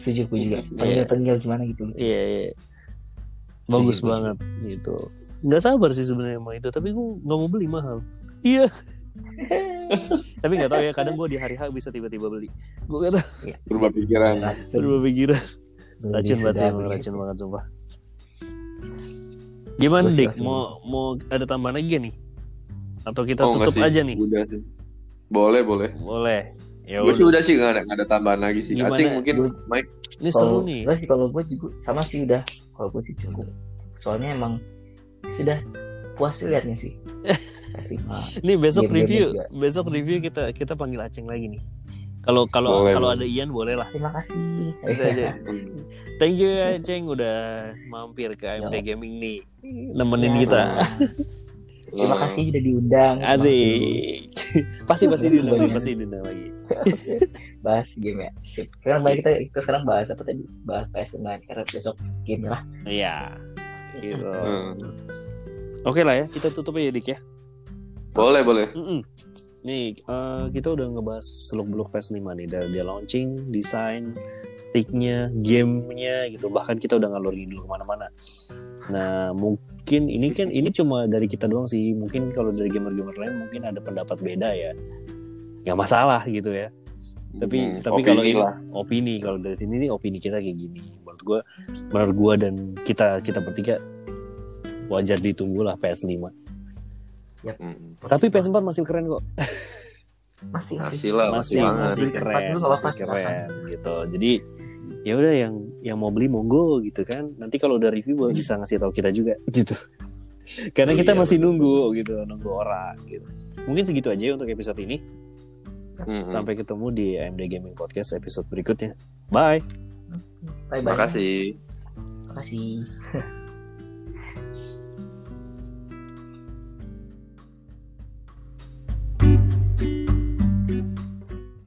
setuju gue juga Iya. tengil tengil gimana gitu Iya, iya. Bagus Setuju, gue. Iya, banget gitu. Nggak sabar sih sebenarnya mau itu, tapi gue nggak mau beli mahal. Iya. [LAUGHS] tapi nggak tahu ya, kadang gue di hari H bisa tiba-tiba beli. Gue kata Berubah pikiran. racun berubah pikiran. Iya, Racun Beli banget sih, sudah emang begitu. racun banget sumpah. Gimana Gue sih Dik? racun Mau mau ada tambahan lagi nggak nih? Atau kita Oh, nggak tutup sih. aja nih? Udah sih. Boleh, boleh. Boleh. Ya Gue sih udah. udah sih nggak ada, nggak ada tambahan lagi sih. Gimana? Acing mungkin Gua- Mike Ini kalau seru nih. Iya. enggak sih kalau gue juga sama sih udah kalau gue sih cukup soalnya emang sudah puas sih liatnya sih Asik banget. Ini besok Game-game review, juga. besok review kita kita panggil Aceng lagi nih. Kalau kalau Boleh, kalau boleh. ada Ian boleh lah. terima kasih Gitu aja. Thank you ya Ceng udah mampir ke AMD Gaming nih nemenin Ya, kita. terima kasih udah diundang Terima kasih. [LAUGHS] Asik. pasti iya. pasti diundang lagi, Banyak. pasti diundang lagi. Oke, bahas game ya Sip. sekarang balik kita, kita sekarang bahas apa tadi bahas PS Nah, sekarang besok game lah Iya. Gitu. Oke lah ya, kita tutup aja Dik ya. Boleh, boleh. Mm-mm. Nih, eh, kita udah ngebahas seluk-beluk PS5 nih dari dia launching, desain, sticknya, gamenya gitu. Bahkan kita udah ngalur dulu kemana-mana. Nah, mungkin ini kan ini cuma dari kita doang sih. Mungkin kalau dari gamer-gamer lain mungkin ada pendapat beda ya. Nggak masalah gitu ya. Tapi- tapi kalau Hmm, opini ini- lah. Opini kalau dari sini nih opini kita kayak gini. Menurut gua, menurut gua dan kita kita bertiga wajar ditunggulah PS5. Mm. Tapi PS4 masih keren kok. masih Masih lah, masih masih banget. masih Beli tempat keren dulu nggak masih apa-apa, keren gitu jadi ya udah yang yang mau beli monggo gitu kan nanti kalau udah review boleh bisa ngasih tahu kita juga gitu karena kita Iya, masih betul. nunggu gitu nunggu orang gitu mungkin segitu aja untuk episode ini Mm. sampai ketemu di AMD Gaming Podcast episode berikutnya bye bye bye Terima kasih. makasih